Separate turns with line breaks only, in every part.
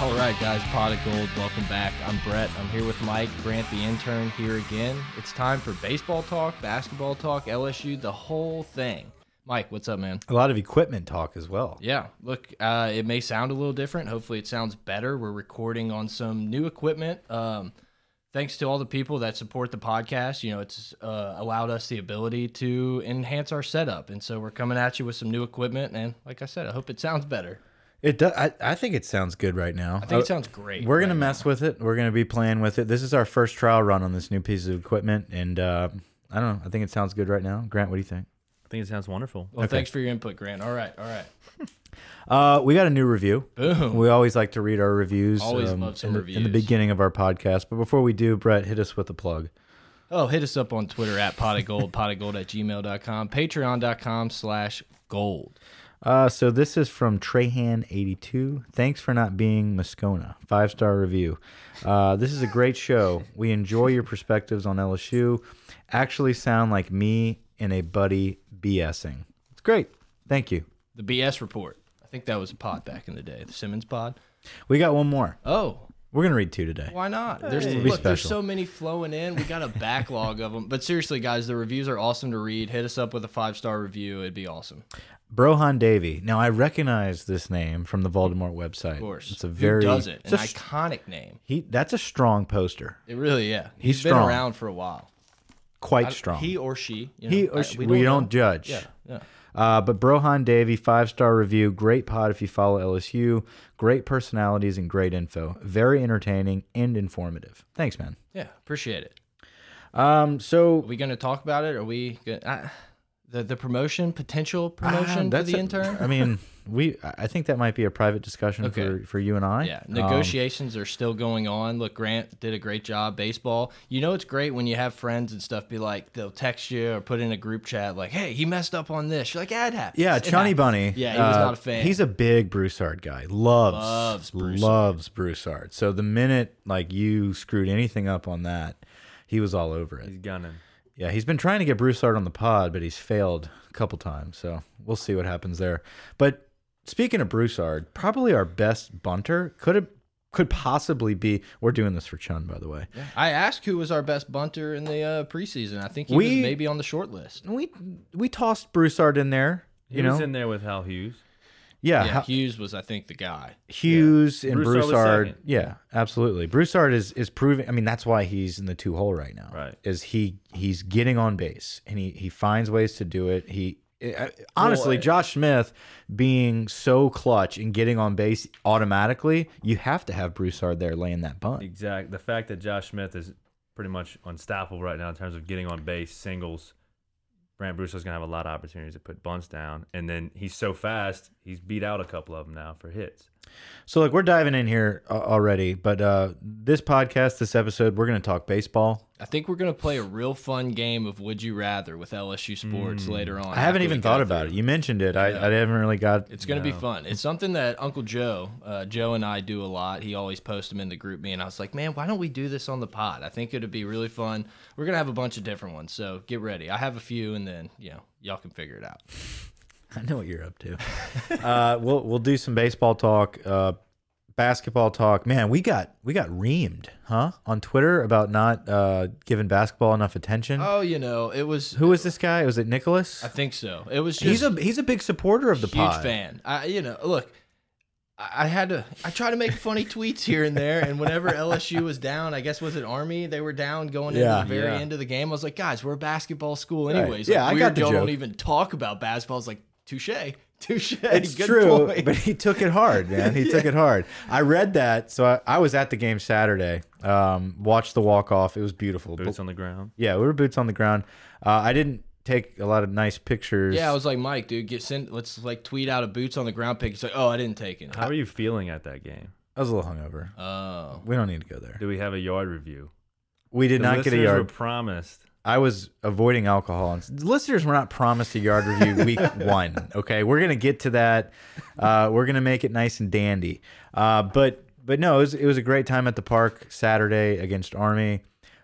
All right, guys, Pot of Gold, welcome back. I'm Brett. I'm here with Mike Grant, the intern, here again. It's time for baseball talk, basketball talk, LSU, the whole thing. Mike, what's up, man?
A lot of equipment talk as well.
Yeah, look, uh, it may sound a little different. Hopefully, it sounds better. We're recording on some new equipment. Um, thanks to all the people that support the podcast. You know, it's uh, allowed us the ability to enhance our setup. And so we're coming at you with some new equipment. And like I said, I hope it sounds better.
It does. I, I think it sounds good right now. Uh,
I think it sounds great.
We're gonna
right
mess with it. We're gonna be playing with it. This is our first trial run on this new piece of equipment, and uh, I don't know. I think it sounds good right now. Grant, what do you think?
I think it sounds wonderful.
Well, thanks for your input, Grant. All right, all right.
Uh, we got a new review.
Boom.
We always like to read our reviews. um,
Always love some
in the, in the
reviews.
beginning of our podcast. But before we do, Brett, hit us with a plug.
Oh, hit us up on Twitter at pot of gold, pot of gold at gmail.com, patreon.com slash gold.
Uh, so this is from Trahan82. Thanks for not being Moscona. Five star review. Uh, this is a great show. We enjoy your perspectives on LSU. Actually, sound like me and a buddy BSing. It's great. Thank you.
The BS report. I think that was a pod back in the day, the Simmons pod.
We got one more.
Oh,
We're gonna read two today.
Why not? There's
It'll be
look, there's so
special.
many flowing in. We got a backlog of them. But seriously, guys, the reviews are awesome to read. Hit us up with a five star review. It'd be awesome.
Brohan Davy. Now I recognize this name from the Voldemort website.
Of course,
it's a very
Who does it.
it's
An
a s-
iconic name.
he. That's a strong poster.
It really, yeah.
He's
He's been
strong.
around for a while.
Quite
I-
strong.
He or she. You know,
He or
I-
she, we don't,
know.
judge.
Yeah, yeah.
Uh, but Brohan Davy, five star review. Great pod if you follow LSU. Great personalities and great info. Very entertaining and informative. Thanks, man.
Yeah, appreciate it.
Um,
Are
so
we going to talk about it? Are we going to. The, the promotion, potential promotion
Ah,
for the
a-
intern?
I mean, we. I think that might be a private discussion
Okay.
for for you and I.
Yeah,
Um,
negotiations are still going on. Look, Grant did a great job. Baseball, you know, it's great when you have friends and stuff. Be like, they'll text you or put in a group chat, like, "Hey, he messed up on this." You're like, "Yeah, it happens."
yeah,
It
Johnny
happens."
Bunny.
Yeah, he was
uh,
not a fan.
He's a big Broussard guy. Loves
Loves Broussard.
loves Broussard. So the minute like you screwed anything up on that, he was all over it.
He's gunning.
Yeah, he's been trying to get Broussard on the pod, but he's failed a couple times. So we'll see what happens there. But speaking of Broussard, probably our best bunter could have could possibly be. We're doing this for Chun, by the way.
I asked who was our best bunter in the uh, preseason. I think he
We-
was maybe on the short list.
We we tossed Broussard in there.
He
You
was
know,
in there with Hal Hughes.
yeah,
Yeah,
Ho-
Hughes was, I think, the guy.
Hughes and
Broussard was
Broussard.
second.
Yeah, absolutely. Broussard is is proving. I mean, that's why he's in the two hole right now.
Right.
Is he he's getting on base and he he finds ways to do it. He I- honestly,
Boy.
Josh Smith being so clutch and getting on base automatically, you have to have Broussard there laying that bunt.
Exact. The fact that Josh Smith is pretty much unstoppable right now in terms of getting on base, singles. Brant Bruce is gonna have a lot of opportunities to put bunts down, and then he's so fast, he's beat out a couple of them now for hits.
So look, we're diving in here uh, already, but uh, this podcast, this episode, we're going to talk baseball.
I think we're gonna play a real fun game of Would You Rather with LSU sports later on.
Hmm. I haven't
after we
even
go
thought
through.
about it. You mentioned it. I, I haven't really got.
It's gonna be fun. It's something that Uncle Joe, uh, Joe and I do a lot. He always posts them in the group me, and I was like, man, why don't we do this on the pod? I think it'd be really fun. We're gonna have a bunch of different ones, so get ready. I have a few, and then you know y'all can figure it out.
I know what you're up to. uh, we'll we'll do some baseball talk, uh, basketball talk. Man, we got we got reamed, huh? On Twitter about not uh, giving basketball enough attention.
Oh, you know, it was.
Who was this guy? Was it Nicholas?
I think so. It was just
He's a he's a big supporter of the
huge
pod.
fan. I, you know, look, I I had to. I try to make funny tweets here and there, and whenever LSU was down, I guess was it Army? They were down going
Yeah.
into the very
Yeah.
end of the game. I was like, guys, we're a basketball school,
Right.
anyways.
Yeah, I
like,
got
weird
the
y'all
joke.
don't even talk about basketball. I was like, touche, touche.
It's
good
true,
point.
but he took it hard, man. He took it hard. I read that, so I, I was at the game Saturday. Um, watched the walk off. It was beautiful.
Boots
But-
on the ground.
yeah, we were boots on the ground. Uh, I didn't take a lot of nice pictures.
yeah, I was like, Mike, dude, get sent. Let's like tweet out a boots on the ground pick. He's like, oh, I didn't take it.
How are you feeling at that game?
I was a little hungover.
Oh,
We don't need to go there.
Do we have a yard review?
We did
The
not get a
listeners
yard.
Were promised.
I was avoiding alcohol. And the listeners were not promised a yard review week one. Okay, we're gonna get to that. Uh, we're gonna make it nice and dandy. Uh, but but no, it was, it was a great time at the park Saturday against Army.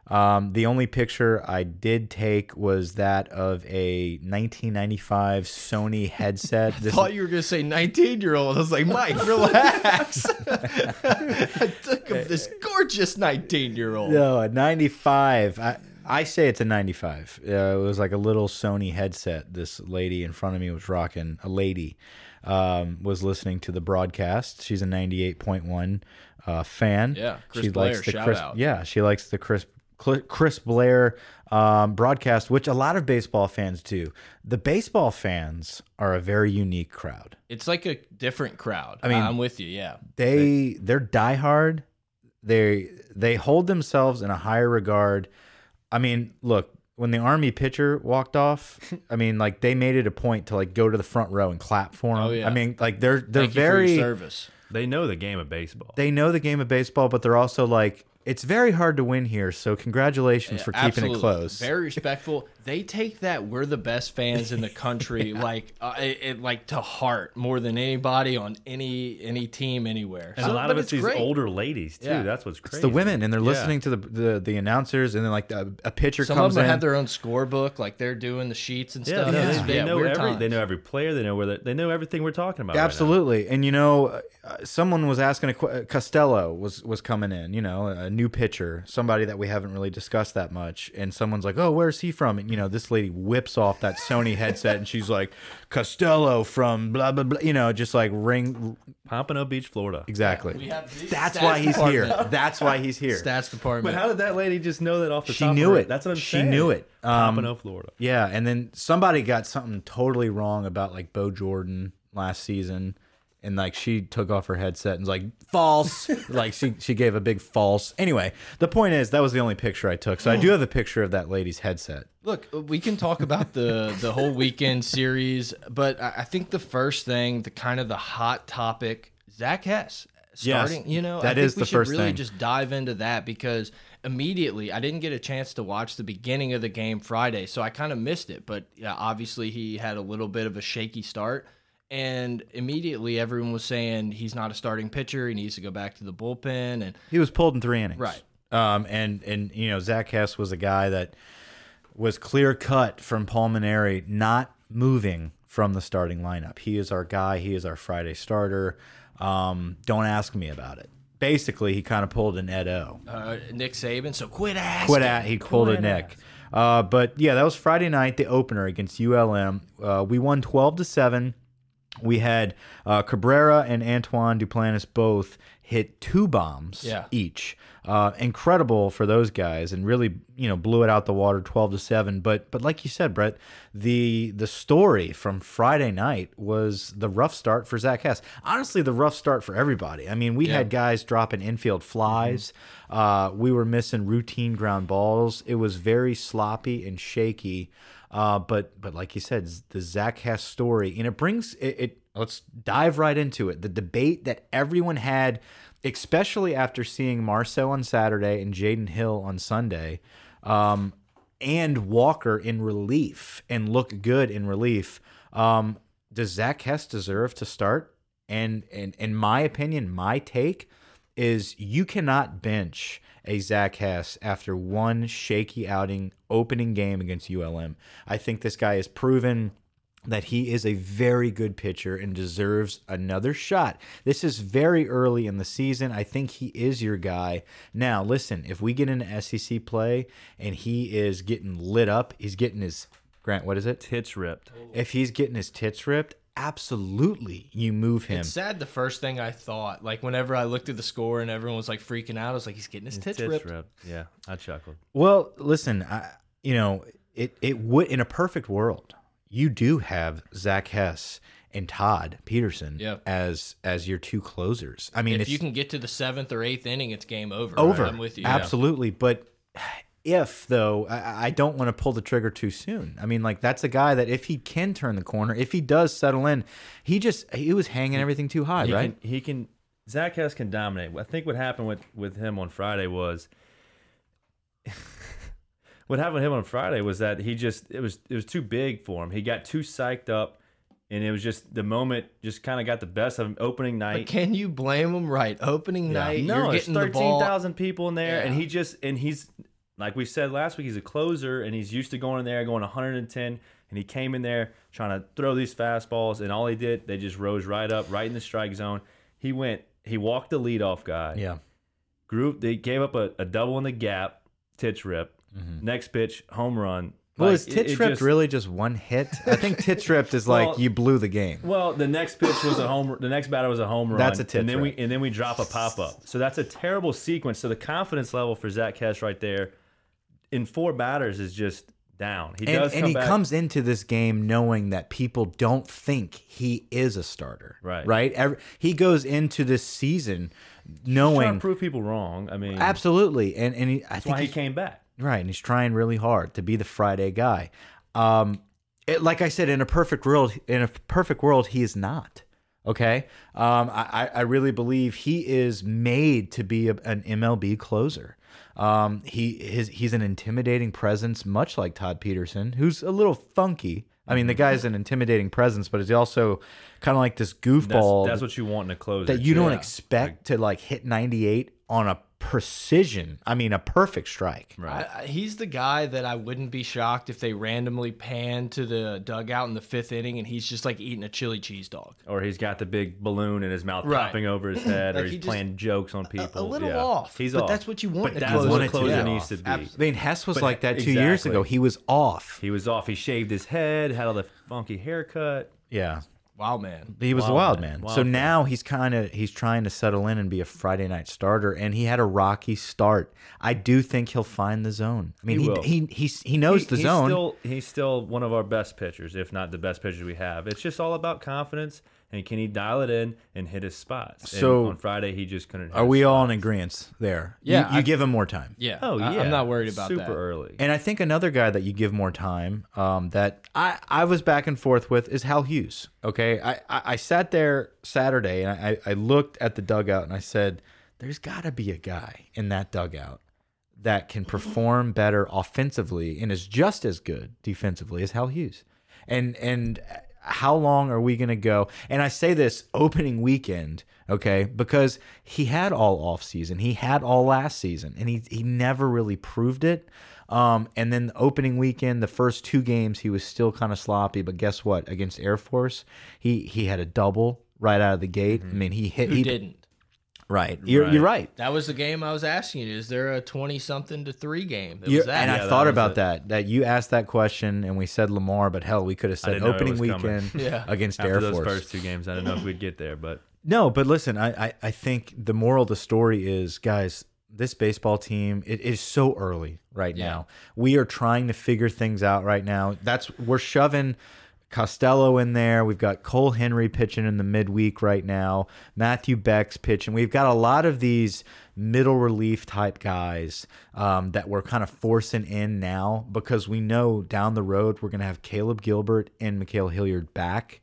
Um, the only picture I did take was that of a 1995 Sony headset. This
thought you were gonna say 19 year old. I was like, Mike, relax. I took him this gorgeous 19 year old.
No, a 95. I, I say it's a 95. Uh, it was like a little Sony headset. This lady in front of me was rocking. A lady um, was listening to the broadcast. She's a 98.1 uh, fan.
Yeah, Chris Blair, shout
Chris,
out.
Yeah, she likes the Chris Cl- Chris Blair um, broadcast, which a lot of baseball fans do. The baseball fans are a very unique crowd.
It's like a different crowd. I
mean-
I'm with you. Yeah.
they they're diehard. They they hold themselves in a higher regard. I mean, look, when the army pitcher walked off, I mean, like they made it a point to like go to the front row and clap for him.
Oh, yeah.
I mean, like they're they're
Thank you
very
for your service.
They know the game of baseball.
they know the game of baseball, but they're also like it's very hard to win here. So congratulations for keeping
Absolutely.
it close.
Very respectful. They take that we're the best fans in the country like uh, it, it- like to heart more than anybody on any any team anywhere.
and
So-
a lot
but
of it's, these
great.
older ladies too.
Yeah.
That's what's crazy.
it's the women, and they're
Yeah.
listening to the, the the announcers, and then like the, a pitcher
Some of
comes
them
in.
have their own scorebook, like they're doing the sheets and
Yeah,
stuff.
they,
It's-
They,
yeah,
know
weird
every. They
times.
know every player. They know where. They, they know everything we're talking about. right now.
Absolutely, and you know, uh, someone was asking a qu- uh, Costello was was coming in. You know, a new pitcher, somebody that we haven't really discussed that much, and someone's like, "Oh, where's he from?" And you know, this lady whips off that Sony headset, and she's like, "Costello from blah blah blah." You know, just like ring
Pompano Beach, Florida.
exactly.
We have the
That's
stats
why he's here.
department.
That's why he's here.
Stats
But
department.
how did that lady just know that off the
She
top? of
knew
her-
it.
That's what I'm
She
saying.
knew it. Um,
Pompano, Florida.
Yeah, and then somebody got something totally wrong about like Bo Jordan last season, and like she took off her headset and was like false, like she she gave a big false. Anyway, the point is that was the only picture I took, so I do have a picture of that lady's headset.
Look, uh, we can talk about the the whole weekend series, but I, I think the first thing, the kind of the hot topic, Zach Hess starting. you know, I
that
think
is
we
the
should
first
really
thing.
just dive into that because immediately I didn't get a chance to watch the beginning of the game Friday, so I kind of missed it. But yeah, obviously he had a little bit of a shaky start. And immediately everyone was saying he's not a starting pitcher. He needs to go back to the bullpen. And
He was pulled in three innings,
Right.
Um, and and you know Zach Hess was a guy that was clear cut from pulmonary, not moving from the starting lineup. He is our guy. He is our Friday starter. Um, don't ask me about it. Basically, he kind of pulled an Ed O.
uh, Nick Saban, so quit asking.
Quit at he pulled a
Quit
Nick. Uh, but yeah, that was Friday night, the opener against ULM. Uh, we won twelve to seven. We had uh, Cabrera and Antoine Duplantis both hit two bombs
Yeah.
each. Uh, incredible for those guys, and really, you know, blew it out the water, twelve to seven. But but like you said, Brett, the the story from Friday night was the rough start for Zach Hess. Honestly, the rough start for everybody. I mean, we had guys dropping infield flies. Uh, we were missing routine ground balls. It was very sloppy and shaky. Uh, but but like you said, z- the Zach Hess story, and it brings it. it let's dive right into it. The debate that everyone had, especially after seeing Marceau on Saturday and Jaden Hill on Sunday, um, and Walker in relief and look good in relief. Um, does Zach Hess deserve to start? And and in my opinion, my take is you cannot bench a Zach Hess after one shaky outing opening game against ULM. I think this guy is proven that he is a very good pitcher and deserves another shot. This is very early in the season. I think he is your guy. Now, listen, if we get into SEC play and he is getting lit up, he's getting his Grant, what is it?
Tits ripped.
If he's getting his tits ripped, absolutely you move him.
It's sad. The first thing I thought, like whenever I looked at the score and everyone was like freaking out, I was like, he's getting his tits, ripped.
Yeah, I chuckled.
Well, listen, I, you know, it, it would, in a perfect world, you do have Zach Hess and Todd Peterson
Yeah.
as as your two closers. I mean,
If
it's
you can get to the seventh or eighth inning, it's game over.
over.
I'm with you.
Absolutely. But if, though, I, I don't want to pull the trigger too soon. I mean, like, that's a guy that if he can turn the corner, if he does settle in, he just, he was hanging everything too high,
He
right?
Can, he can. Zach Hess can dominate. I think what happened with with him on Friday was. what happened with him on Friday was that he just it was it was too big for him. He got too psyched up, and it was just the moment just kind of got the best of him. Opening
But
night,
can you blame him? Right, opening night,
no,
you're
there's
getting the ball.
thirteen thousand people in there, and
Yeah.
he just and he's like we said last week, he's a closer, and he's used to going in there going 110, and he came in there trying to throw these fastballs, and all he did, they just rose right up, right in the strike zone. He went, he walked the leadoff guy,
Yeah.
group, they gave up a, a double in the gap, titch rip,
Mm-hmm.
next pitch, home run.
Well,
Like,
is
it-
Titch
it
Ripped
just-
really just one hit? I think Titch Ripped is like,
Well-
you blew the game.
Well, the next pitch was a home. The next batter was a home run.
That's a tip
And then
trap.
we and then we drop a pop up. So that's a terrible sequence. So the confidence level for Zach Hess right there, in four batters, is just down. He
And,
does
and
come
he
back.
comes into this game knowing that people don't think he is a starter.
Right.
Right. Every, he goes into this season
trying to
knowing.
prove people wrong. I mean, that's
Absolutely. And, and he, I think
why he
he's-
came back.
Right, and he's trying really hard to be the Friday guy. Um, it, like I said, in a perfect world, in a perfect world, he is not. Okay, um, I, I I really believe he is made to be a, an MLB closer. Um, he his, he's an intimidating presence, much like Todd Peterson, who's a little funky. I
Mm-hmm.
mean, the guy's an intimidating presence, but he's also kind of like this
That's,
goofball
that's what you want in a closer.
that you don't
too.
expect to like hit 98 on a precision. I mean, a perfect strike.
Right.
I, I- he's the guy that I wouldn't be shocked if they randomly pan to the dugout in the fifth inning and he's just like eating a chili cheese dog.
Or he's got the big balloon in his mouth
Right.
popping over his head,
Like
or
he
he's
just-
playing jokes on people.
A little
Yeah.
off.
He's
but
off.
that's what you want.
But
in a
that's
closer.
what a
to be
closer
off.
needs to be.
I mean, Hess was
But
like that two years
exactly.
ago. He was off.
He was off. He shaved his head, had all the funky haircut.
Yeah.
Wow, man.
He was a wild
Wild man.
man.
Wild
so
man.
now he's kind of he's trying to settle in and be a Friday night starter, and he had a rocky start. I do think he'll find the zone. I mean,
He
he
will.
he, he, he, knows
He-
the
he's
zone.
Still, he's still one of our best pitchers, if not the best pitcher we have. It's just all about confidence and can he dial it in and hit his spots. And
So-
on Friday he just couldn't. hit
Are
his
we
spot.
all in agreement there? You-
Yeah,
you,
I-
give him more time.
Yeah.
Oh yeah,
I, am not worried about
super
that.
early.
And I think another guy that you give more time um, that I, I was back and forth with is Hal Hughes. Okay. I, I, I sat there Saturday and I, I looked at the dugout and I said, there's got to be a guy in that dugout that can perform better offensively and is just as good defensively as Hal Hughes. And, and how long are we going to go? And I say this opening weekend, okay, because he had all off season, he had all last season, and he, he never really proved it. Um, and then the opening weekend, the first two games, he was still kind of sloppy. But guess what? Against Air Force, he he had a double right out of the gate. I mean, he hit.
Who
he
didn't?
Right. You're, you're right.
That was the game I was asking you. Is there a twenty something to three game? It
You're-
was that.
and
Yeah,
I
that
thought
was
about
it.
that. That you asked that question, and we said Lamar, but hell, we could have said
didn't know it
opening
was coming.
weekend
Yeah.
against
After
Air
those
Force.
first two games, I don't know if we'd get there, but
No, but listen, I, I, I think the moral of the story is, guys, this baseball team, it is so early right now. We are trying to figure things out right now. That's we're shoving Costello in there. We've got Cole Henry pitching in the midweek right now. Matthew Beck's pitching. We've got a lot of these middle relief type guys um, that we're kind of forcing in now because we know down the road we're going to have Caleb Gilbert and Mikhail Hilliard back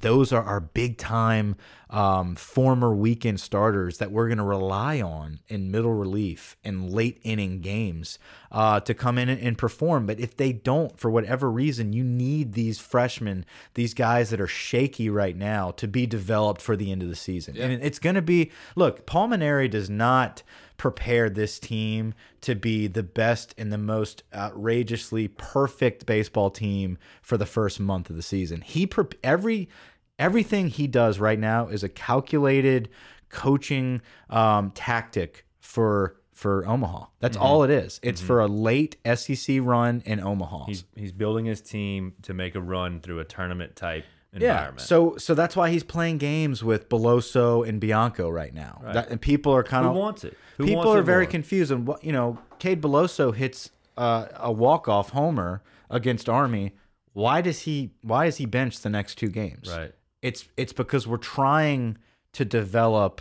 those are our big time um, former weekend starters that we're going to rely on in middle relief and late inning games uh, to come in and, and perform. But if they don't, for whatever reason, you need these freshmen, these guys that are shaky right now, to be developed for the end of the season. And it's going to be look, Paul Maneri does not prepare this team to be the best and the most outrageously perfect baseball team for the first month of the season. He prep every everything he does right now is a calculated coaching um, tactic for for Omaha. That's
Mm-hmm.
all it is. It's for a late SEC run in Omaha.
he's he's building his team to make a run through a tournament type
Yeah.
environment.
So so that's why he's playing games with Beloso and Bianco right now.
Right.
That, and people are kind
who
of
wants it? Who
people
wants
are
it
very
more?
confused. And what you know, Cade Beloso hits uh, a walk off homer against Army. Why does he? Why is he benched the next two games?
Right.
It's it's because we're trying to develop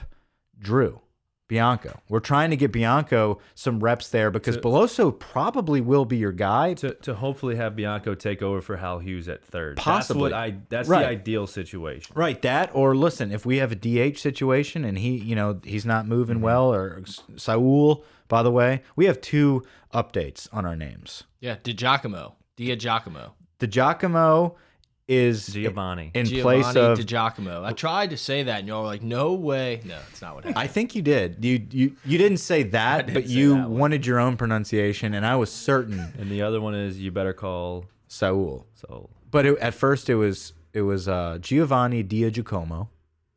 Drew Bianco. We're trying to get Bianco some reps there because Beloso probably will be your guy.
To, to hopefully have Bianco take over for Hal Hughes at third.
Possibly.
That's what I. That's
Right.
the ideal situation.
Right, that or listen, if we have a DH situation and he, you know, he's not moving
Mm-hmm.
well, or S- Saul, by the way, we have two updates on our names.
Yeah, DiGiacomo. Dia Giacomo.
The Giacomo is
Giovanni.
in place
Giovanni
of.
DiGiacomo. I tried to say that, and y'all were like, no way. No, it's not what happened.
I think you did. You you you didn't say that,
didn't
but
say
you
that one.
wanted your own pronunciation, and I was certain
and the other one is you better call.
Saul.
So
But it, at first, it was it was uh, Giovanni Dia Giacomo,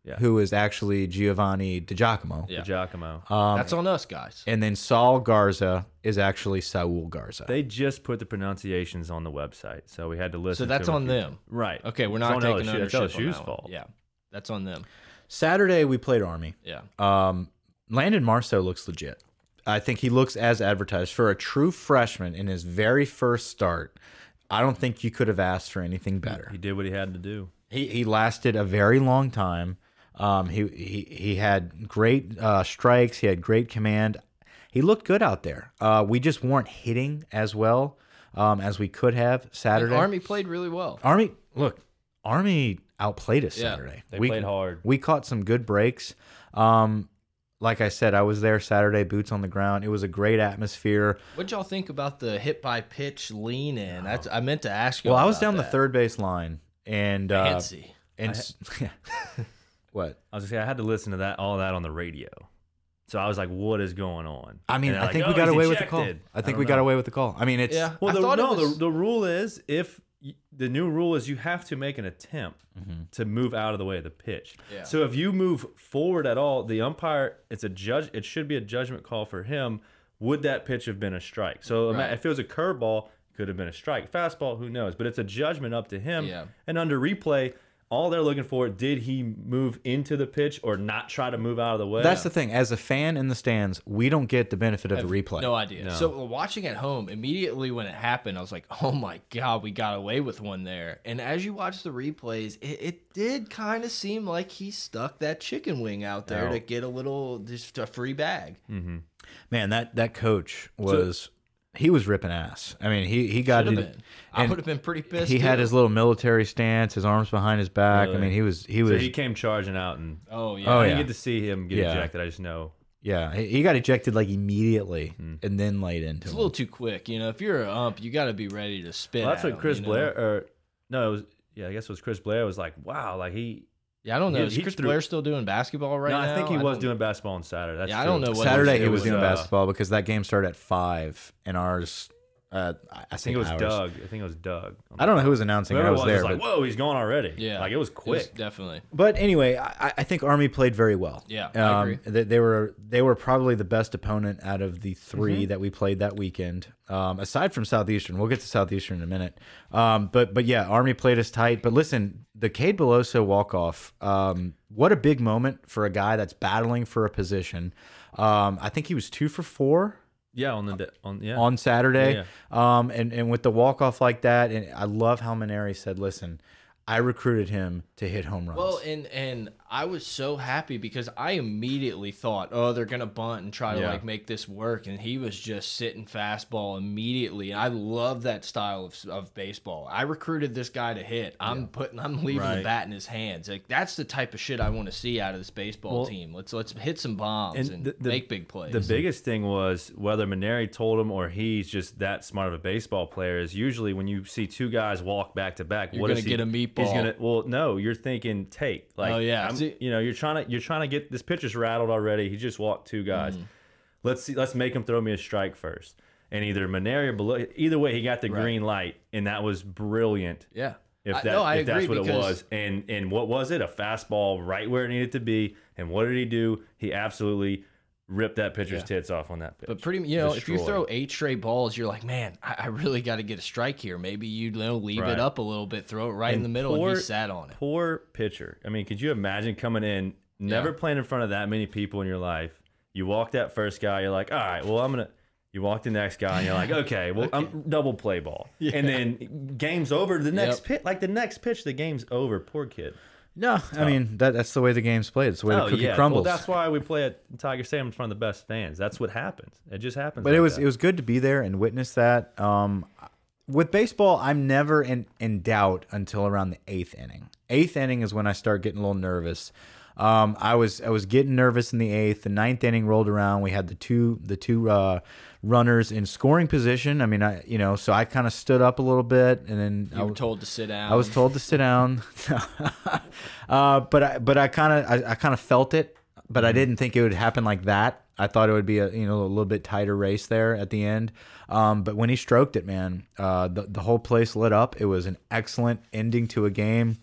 Yeah.
who is actually Giovanni Di Giacomo.
Yeah. Uh,
Giacomo.
Um,
That's on us, guys.
And then Saul Garza is actually Saul Garza.
They just put the pronunciations on the website, so we had to listen.
So that's
to
on
a few-
them.
right?
Okay, we're
It's
not
on
taking
LSU. That's
ownership on
LSU's
that one.
fault.
Yeah, that's on them.
Saturday we played Army.
Yeah.
Um, Landon Marceau looks legit. I think he looks as advertised for a true freshman in his very first start. I don't think you could have asked for anything better.
He did what he had to do.
He he lasted a very long time. Um, he he he had great uh, strikes. He had great command. He looked good out there. Uh, we just weren't hitting as well um, as we could have
And
Saturday.
Army played really well.
Army, look, Army outplayed us
Yeah,
Saturday.
They played hard.
We caught some good breaks. Um, like I said, I was there Saturday, boots on the ground. It was a great atmosphere.
What'd y'all think about the hit by pitch lean in? That's I meant to ask you.
Well, I was down the third base line, and uh,
Fancy.
and s- what?
I was gonna say I had to listen to that all that on the radio, so I was like, "What is going on?"
I mean,
And they're
I
like,
think
"Oh,
we got
he's
away with the call.
ejected."
I think
don't
we got
know.
away with the call. I mean, it's
Yeah.
Well,
I
the,
thought it
no,
was-
the, the rule is if y- the new rule is you have to make an attempt
Mm-hmm.
to move out of the way of the pitch.
Yeah.
So if you move forward at all, the umpire it's a judge. It should be a judgment call for him. Would that pitch have been a strike? So ima-
Right.
if it was a curveball, could have been a strike. Fastball, who knows? But it's a judgment up to him.
Yeah.
And under replay, all they're looking for did he move into the pitch or not try to move out of the way?
that's the thing. As a fan in the stands, we don't get the benefit of the replay.
No idea. So uh, watching at home, immediately when it happened, I was like, "Oh my god, we got away with one there." And as you watch the replays, it, it did kind of seem like he stuck that chicken wing out there
No.
to get a little just a free bag.
Man, that that coach was he was ripping ass. I mean, he he got
Should
in
have
the-
been. I
and
would have been pretty pissed.
he had
too.
his little military stance, his arms behind his back. I
Really?
mean, he was he was
so he came charging out and
Oh yeah.
Oh,
I
yeah.
didn't get to see him get
Yeah.
ejected. I just know
yeah, he he got ejected like immediately
Hmm.
and then laid into
It's a
him.
little too quick, you know. If you're a ump, you got to be ready to spit.
Well, that's
at
what
'em,
Chris
you know?
Blair, or no, it was yeah, I guess it was Chris Blair was like, wow, like he.
Yeah, I don't know.
He-
Is
he
Chris
threw-
Blair still doing basketball right
no,
now?
I think he was
don't-
doing basketball on Saturday. That's
Yeah, I
true.
don't know what
Saturday
it
he was
was,
doing
uh,
basketball because that game started at five and ours. Uh, I- I
I think
think
it was
ours.
Doug. I think it was Doug.
I don't know who was announcing. it. I
Whoever it
was,
was,
there,
like,
but,
whoa, he's gone already.
Yeah,
like it was quick.
definitely.
but anyway, I, I think Army played very well.
Yeah, I
um,
agree.
They, they were they were probably the best opponent out of the 3
Mm-hmm.
that we played that weekend. Um, aside from Southeastern, we'll get to Southeastern in a minute. Um, but but yeah, Army played us tight. But listen, the Cade Beloso walk off. Um, what a big moment for a guy that's battling for a position. Um, I think he was two for four
yeah, on the d- on yeah.
on Saturday.
Yeah,
Um, and, and with the walk off like that, and I love how Maneri said, "Listen, I recruited him to hit home runs."
Well, Oh, and and I was so happy because I immediately thought, oh, they're gonna bunt and try to
Yeah.
like make this work, and he was just sitting fastball immediately. And I love that style of, of baseball. I recruited this guy to hit. I'm putting, I'm leaving the
Right.
bat in his hands. Like that's the type of shit I want to see out of this baseball team. Let's let's hit some bombs and,
the- the-
make big plays.
The biggest thing was whether Maneri told him or he's just that smart of a baseball player. Is usually when you see two guys walk back to back,
You're
what
gonna
is he-
get a
He's
meatball.
gonna well, no, you're thinking take. Like,
Oh, yeah.
I'm-
See-
you know, you're trying to you're trying to get this pitcher's rattled already. He just walked two guys.
Mm-hmm.
Let's see, let's make him throw me a strike first. And either Maneri or Belo- either way, he got the green light, and that was brilliant.
yeah.
If
I-
that
no, I
if that's
agree
what it
because-
was, and and what was it? A fastball right where it needed to be. And what did he do? He absolutely rip that pitcher's
Yeah.
tits off on that pitch.
But pretty, you know, if you
Destroy.
throw eight straight balls, you're like, man, I, I really got to get a strike here. Maybe you know, leave
Right.
it up a little bit, throw it right in
And
the middle, and
poor-
he sat on it.
poor pitcher. I mean, could you imagine coming in, never playing in front of that many people in your life? You walk that first guy, you're like, all right, well, I'm gonna. You walk the next guy, and you're like, okay, well, I'm double play ball, and then game's over. The next
Yep.
pitch, like the next pitch, the game's over. Poor kid.
No, I mean that, that's the way the game's played. It's the way the cookie crumbles.
Oh. Well, that's why we play at Tiger Stadium in front of the best fans. That's what happens. It just happens.
but
like
it was
that.
it was good to be there and witness that. Um, with baseball, I'm never in in doubt until around the eighth inning. Eighth inning is when I start getting a little nervous. Um, I was I was getting nervous in the eighth. The ninth inning rolled around. We had the two the two uh, runners in scoring position. I mean, I you know, so I kind of stood up a little bit, and then I
You were
w-
told to sit down.
I was told to sit down, uh, but I, but I kind of I, I kind of felt it, but I didn't think it would happen like that. I thought it would be a you know a little bit tighter race there at the end. Um, but when he stroked it, man, uh, the the whole place lit up. It was an excellent ending to a game.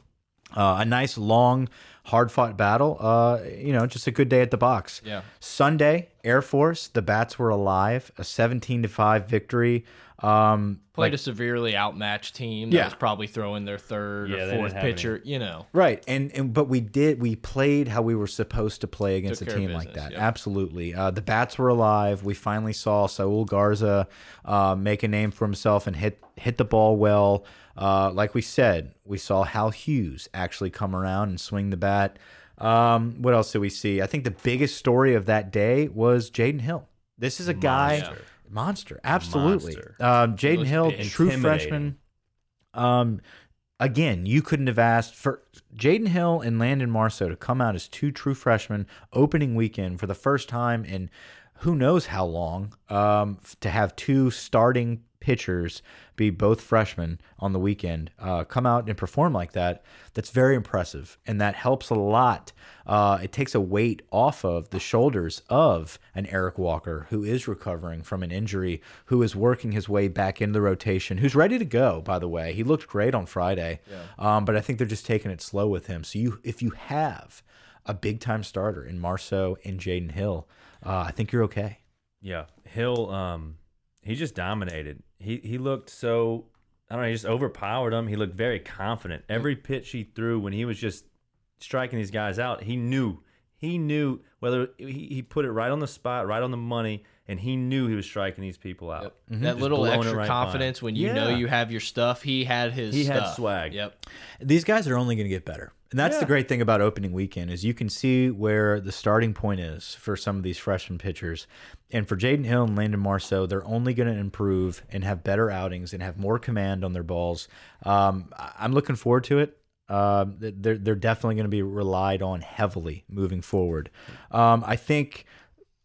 Uh, a nice long, hard fought battle. Uh, you know, just a good day at the box.
Yeah.
Sunday, Air Force. The bats were alive. A seventeen to five victory. Um,
played a severely outmatched team. That
Yeah.
was probably throwing their third
Yeah, they
or
didn't
fourth
have any.
pitcher. You know,
Right, and and but we did we played how we were supposed to play against
Took
a
care of
team like
business,
that.
yep.
Absolutely, uh, the bats were alive. We finally saw Saul Garza uh, make a name for himself and hit hit the ball well. Uh, like we said, we saw Hal Hughes actually come around and swing the bat. Um, what else did we see? I think the biggest story of that day was Jaden Hill. This is a guy
Monster.
monster, absolutely.
Monster.
Um, Jaden
was
Hill,
big.
true
Intimidating.
freshman. Um, again, you couldn't have asked for Jaden Hill and Landon Marceau to come out as two true freshmen opening weekend for the first time in who knows how long. Um, f- to have two starting pitchers be both freshmen on the weekend, uh, come out and perform like that, that's very impressive, and that helps a lot. Uh, it takes a weight off of the shoulders of an Eric Walker who is recovering from an injury, who is working his way back into the rotation, who's ready to go. By the way, he looked great on Friday, um, but I think they're just taking it slow with him. So you, if you have a big time starter in Marceau and Jaden Hill, uh, I think you're okay.
Yeah, Hill. Um, he just dominated. He he looked so. I don't know. He just overpowered him. He looked very confident. Every pitch he threw, when he was just striking these guys out, he knew. He knew whether he, he put it right on the spot, right on the money, and he knew he was striking these people out.
that
Mm-hmm.
Mm-hmm. Just
little
blowing it
extra
right by 'em.
confidence when you know
Yeah.
you have your stuff. He had his.
He had
stuff.
swag.
Yep.
these guys are only going to get better and that's the
Yeah.
great thing about opening weekend is you can see where the starting point is for some of these freshman pitchers and for jaden hill and landon marceau they're only going to improve and have better outings and have more command on their balls um, I- i'm looking forward to it um, th- they're, they're definitely going to be relied on heavily moving forward um, i think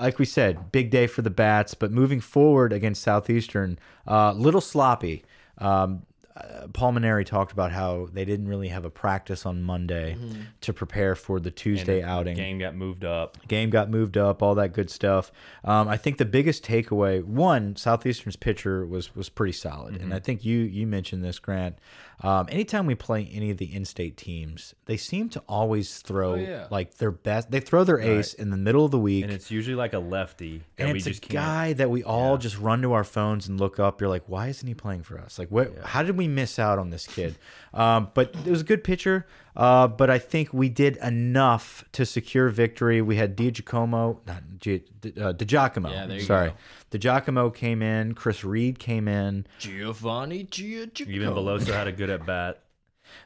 like we said, big day for the bats. But moving forward against Southeastern, uh, little sloppy. Um, uh, Pulmonary talked about how they didn't really have a practice on Monday to prepare for the Tuesday outing.
Game got moved up.
Game got moved up, all that good stuff. Um, I think the biggest takeaway, one, Southeastern's pitcher was was pretty solid, and I think you you mentioned this, Grant. Um, anytime we play any of the in-state teams, they seem to always throw
yeah.
like their best. They throw their ace in the middle of the week,
And it's usually like a lefty, and,
and
we
it's a
just can't.
guy that we all just run to our phones and look up. You're like, why isn't he playing for us? Like, what? How did we miss out on this kid? um, but it was a good pitcher. Uh, but I think we did enough to secure victory. We had DiGiacomo, not G, uh, DiGiacomo.
Yeah, there you
sorry,
go.
DiGiacomo came in. Chris Reed came in.
Giovanni Giacomo.
Even Veloso had a good at bat.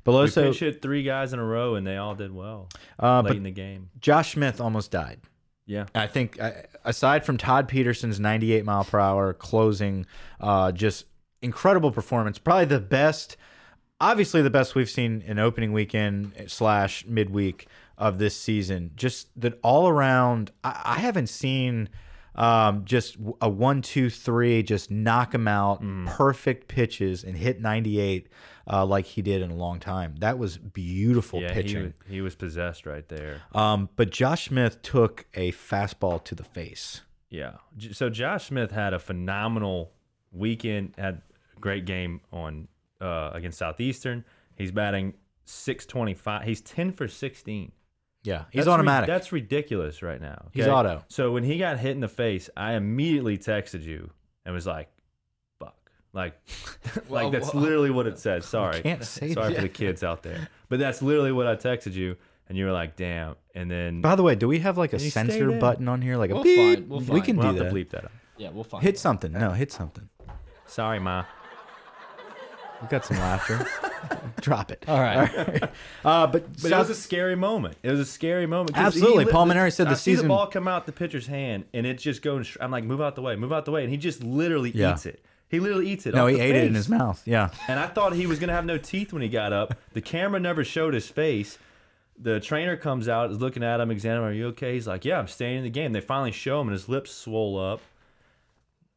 we
Beloso,
pitched it three guys in a row, and they all did well
uh,
late
but
in the game.
Josh Smith almost died.
Yeah,
I think uh, aside from Todd Peterson's 98 mile per hour closing, uh, just incredible performance. Probably the best, obviously the best we've seen in opening weekend slash midweek of this season. Just that all around. I, I haven't seen um, just w- a one, two, three, just knock him out,
Mm.
perfect pitches, and hit 98 uh, like he did in a long time. That was beautiful
yeah. He,
pitching.
was- he was possessed right there.
Um, but Josh Smith took a fastball to the face.
Yeah. J- So Josh Smith had a phenomenal weekend. Had a great game on uh, against Southeastern. He's batting 625. He's 10 for 16.
Yeah, he's
That's ri-
automatic.
that's ridiculous right now.
He's
okay?
auto.
So when he got hit in the face, I immediately texted you and was like, "Fuck!" Like,
Well,
like that's
well-
literally what it says. Sorry,
can't say
sorry
that.
for the kids out there, but that's literally what I texted you, and you were like, "Damn!" And then
By the way, do we have like a
And you stay
censor
there.
button on here? Like a
We'll
beep?
find- we'll
We
find.
can
we'll
do
have
that.
to bleep that. Out.
Yeah, we'll find.
Hit
it.
something. No, hit something.
Sorry, ma.
We got some laughter. Drop it.
All right.
Uh, but,
But it was a scary moment. It was a scary moment. 'cause he
Absolutely.
lit-
Paul Maneri said
I
the
see
season-
the ball come out the pitcher's hand, and it's just going. str- I'm like, move out the way, move out the way, and he just literally
Yeah.
eats it. He literally eats it.
no,
off
he
the
ate it in
face.
his mouth. Yeah.
And I thought he was gonna have no teeth when he got up. The camera never showed his face. The trainer comes out, is looking at him, examining, "Are you okay?" He's like, "Yeah, I'm staying in the game." They finally show him, and his lips swole up.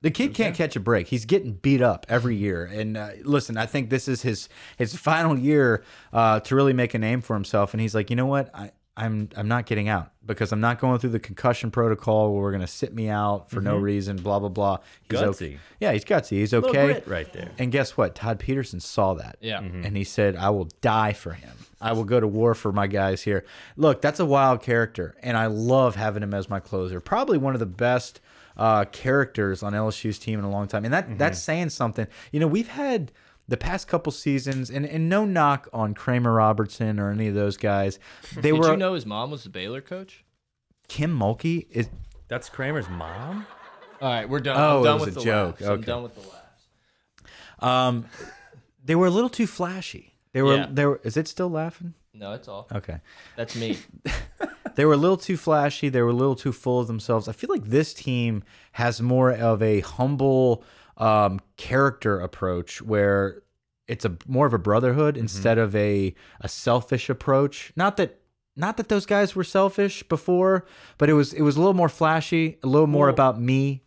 The kid can't catch a break. He's getting beat up every year. And uh, listen, I think this is his his final year uh, to really make a name for himself. And he's like, you know what? I, I'm I'm not getting out because I'm not going through the concussion protocol where we're gonna sit me out for no reason. Blah blah blah. He's o-
Mm-hmm. Gutsy.
Yeah, he's gutsy. He's
Little
okay.
grit right there.
And guess what? Todd Peterson saw that.
Yeah. Mhm.
And he said, I will die for him. I will go to war for my guys here. Look, that's a wild character. And I love having him as my closer. Probably one of the best uh, characters on LSU's team in a long time. And that
Mm-hmm.
that's saying something. You know, we've had the past couple seasons, and, and no knock on Kramer Robertson or any of those guys. They
Did
were
you know his mom was the Baylor coach?
Kim Mulkey is
That's Kramer's mom.
All right, we're done.
Oh,
I'm
it
done
was
with
a
the
joke.
laughs. I'm
Okay.
done with the laughs.
um they were a little too flashy. They were
Yeah.
they were is it still laughing?
No, it's all.
Okay.
That's me.
They were a little too flashy. They were a little too full of themselves. I feel like this team has more of a humble um, character approach where it's a more of a brotherhood instead of a a selfish approach. Not that not that those guys were selfish before, but it was it was a little more flashy, a little more
Well-
about me.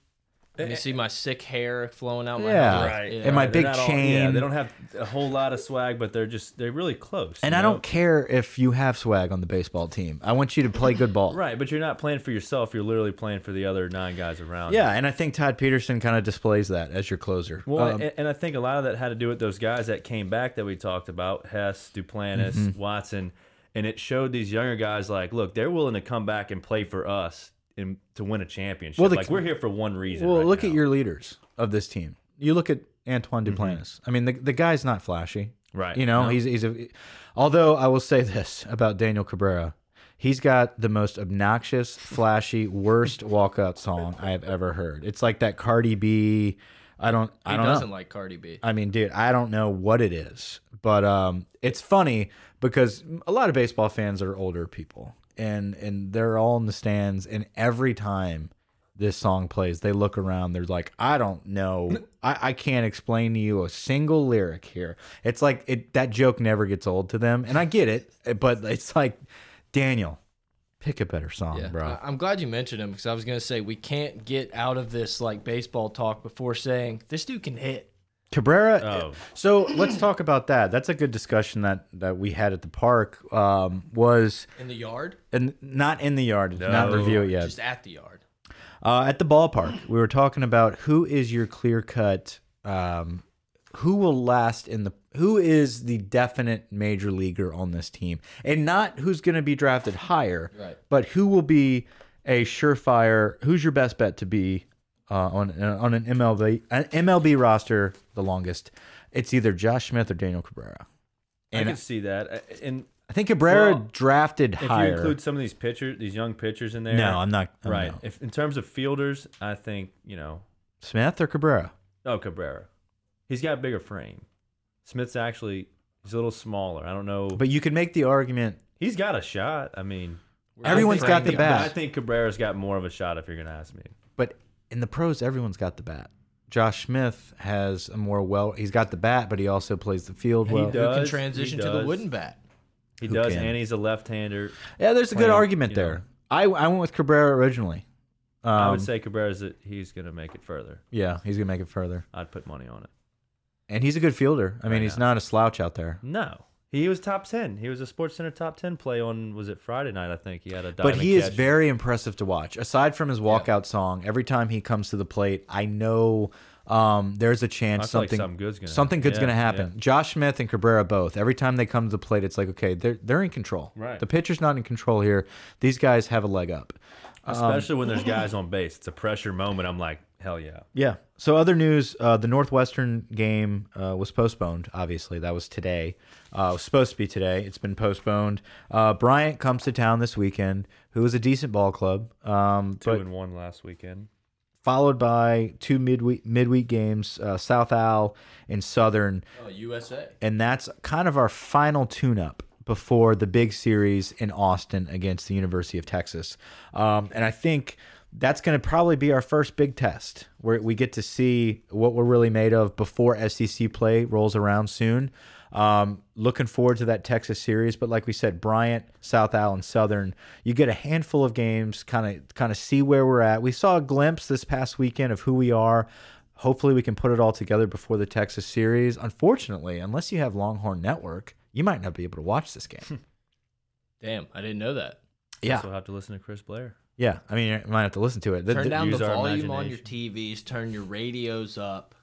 Eh,
Let me see my sick hair flowing out my
Yeah.
mouth.
Right.
Yeah.
And my
They're
big
not all- yeah,
chain.
they don't have a whole lot of swag, but they're just they're really close.
And
you
I
know?
don't care if you have swag on the baseball team. I want you to play good ball.
Right, but you're not playing for yourself. You're literally playing for the other nine guys around. you.
Yeah, and I think Todd Peterson kind of displays that as your closer.
Well,
Um,
and, and I think a lot of that had to do with those guys that came back that we talked about Hess, Duplantis,
Mm-hmm.
Watson. And it showed these younger guys, like, look, they're willing to come back and play for us and to win a championship.
Well, the-
like, we're here for one reason.
Well,
right
look
now. Mm-hmm.
at your leaders of this team. You look at Antoine Duplantis. I mean, the, the guy's not flashy,
Right.
You know, he's he's a. Although I will say this about Daniel Cabrera, he's got the most obnoxious, flashy, worst walk up song I have ever heard. It's like that Cardi B. I don't. I
He
don't know.
doesn't like Cardi B.
I mean, dude, I don't know what it is, but um, it's funny because a lot of baseball fans are older people, and and they're all in the stands, and every time this song plays, they look around, they're like, I don't know, I, I can't explain to you a single lyric here. It's like it that joke never gets old to them, and I get it, eh, but it's like Daniel, pick a better song,
Yeah.
bro.
I- I'm glad you mentioned him because I was gonna say we can't get out of this like baseball talk before saying this dude can hit.
Cabrera. eh,
Oh.
So let's talk about that. That's a good discussion that that we had at the park. Um, was
In the yard?
and not in the yard, not
No.
review it yet.
Just at the yard.
Uh, at the ballpark, we were talking about who is your clear cut, um, who will last in the, who is the definite major leaguer on this team, and not who's going to be drafted higher,
Right.
but who will be a surefire. Who's your best bet to be uh, on on an MLB an MLB roster the longest? It's either Josh Smith or Daniel Cabrera.
I
and-
can see that. I- And
I think Cabrera
Well,
drafted
if
higher.
you include some of these pitchers, these young pitchers in there.
no, I'm not. I'm
Right.
not.
If, in terms of fielders, I think, you know,
Smith or Cabrera?
oh, Cabrera. He's got a bigger frame. Smith's actually, he's a little smaller. I don't know.
But you can make the argument
He's got a shot. I mean,
Everyone's
I
got the
think-
bat.
I think Cabrera's got more of a shot if you're going to ask me.
But in the pros, everyone's got the bat. Josh Smith has a more well. He's got the bat, but he also plays the field well.
does.
Who can
he
transition to the
does.
wooden bat?
He
Who
does,
can?
and he's a left-hander.
Yeah, there's a good
Well,
argument
you know.
there. I I went with Cabrera originally. Um,
I would say Cabrera's that he's going to make it further.
yeah, he's gonna make it further,
I'd put money on it.
and he's a good fielder. I mean,
Right
he's
now.
not a slouch out there.
No, he was top ten. He was a Sports Center top ten play on was it Friday night? I think he had a.
But
diving
he is
catch.
very impressive to watch. Aside from his walkout song, every time he comes to the plate, I know um, there's a
I
chance
feel like
something
something good's gonna
something
happen.
good's
Yeah,
gonna happen. Josh Smith and Cabrera both. Every time they come to the plate, it's like okay, they're they're in control.
Right.
The pitcher's not in control here. These guys have a leg up. um,
Especially when there's guys on base. It's a pressure moment. I'm like, hell yeah.
Yeah. So other news, uh, the Northwestern game uh, was postponed. Obviously, that was today. Uh, it was supposed to be today. It's been postponed. Uh, Bryant comes to town this weekend. Who is a decent ball club, um,
Two
but
and one last weekend.
followed by two midweek midweek games: uh, South Al and Southern,
Oh, USA.
and that's kind of our final tune-up before the big series in Austin against the University of Texas. Um, and I think that's going to probably be our first big test where we get to see what we're really made of before SEC play rolls around soon. Um, looking forward to that Texas series, but like we said, Bryant, South Al, and Southern, you get a handful of games, kind of kind of see where we're at. We saw a glimpse this past weekend of who we are. Hopefully, we can put it all together before the Texas series. Unfortunately, unless you have Longhorn Network, you might not be able to watch this
Hmm.
game.
Damn, I didn't know that.
yeah,
So we'll have to listen to Chris Blair.
yeah. I mean, you might have to listen to it. The-
Turn
the-
down the
use our
volume on your
imagination.
TVs. Turn your radios up.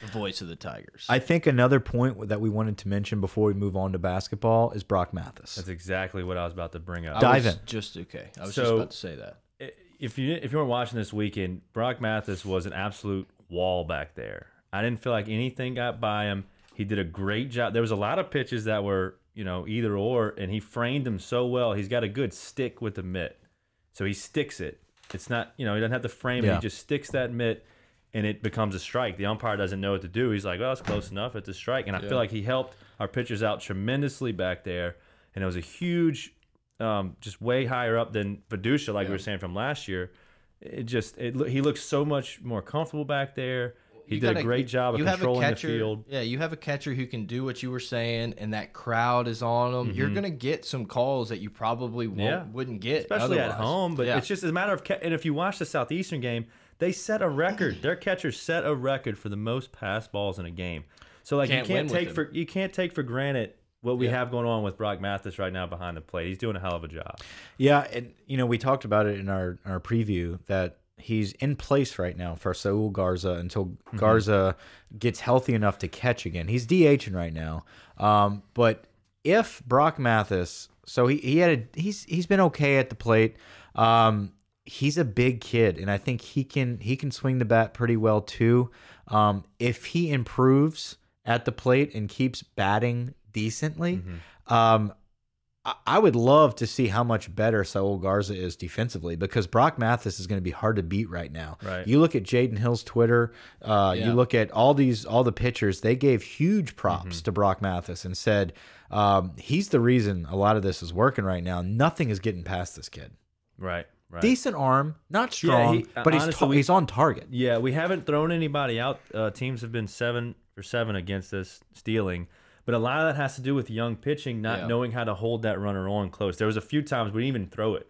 The voice of the Tigers.
I think another point that we wanted to mention before we move on to basketball is Brock Mathis.
That's exactly what I was about to bring up.
I
dive
was
in.
Just okay. I was just
So-
about to say that.
if you if you weren't watching this weekend, Brock Mathis was an absolute wall back there. I didn't feel like anything got by him. He did a great job. There was a lot of pitches that were you know either or, and he framed them so well. He's got a good stick with the mitt, so he sticks it. It's not you know he doesn't have to frame it.
Yeah.
He just sticks that mitt, and it becomes a strike. The umpire doesn't know what to do. He's like, well, it's close enough. It's a strike, and I feel like he helped our pitchers out tremendously back there, and it was a huge um, just way higher up than Viducia, like we were saying from last year. It just it, loo- he looks so much more comfortable back there. He
You
did
gotta-
a great job of
you have a
controlling
catcher-
the field.
Yeah, you have a catcher who can do what you were saying, and that crowd is on them. You're gonna get some calls that you probably won't,
Mm-hmm. Yeah.
wouldn't get,
especially at
otherwise.
home. But
Yeah.
it's just a matter of ca- and if you watch the southeastern game, they set a record. Their catcher set a record for the most pass balls in a game. So like
Can't
you
win
can't
with
take
him.
for you can't take for granted what we have going on with Brock Mathis right now behind the plate. He's doing a hell of a job.
Yeah, and you know we talked about it in our our preview that he's in place right now for Saul Garza until Garza gets healthy enough to catch again. He's DHing right now, um, but if Brock Mathis, so he he had a, he's he's been okay at the plate. Um, he's a big kid, and I think he can he can swing the bat pretty well too. Um, if he improves at the plate and keeps batting decently. Um, I- I would love to see how much better Saul Garza is defensively because Brock Mathis is going to be hard to beat right now.
Right.
You look at Jaden Hill's Twitter. Uh,
Yeah.
You look at all these all the pitchers. They gave huge props
Mm-hmm.
to Brock Mathis and said um, he's the reason a lot of this is working right now. Nothing is getting past this kid.
Right. Right.
Decent arm, not strong,
he- uh,
but he's
honestly,
ta-
we-
he's on target.
Yeah, we haven't thrown anybody out. Uh, teams have been seven for seven against us stealing, but a lot of that has to do with young pitching not
Yeah.
knowing how to hold that runner on close. There was a few times we didn't even throw it,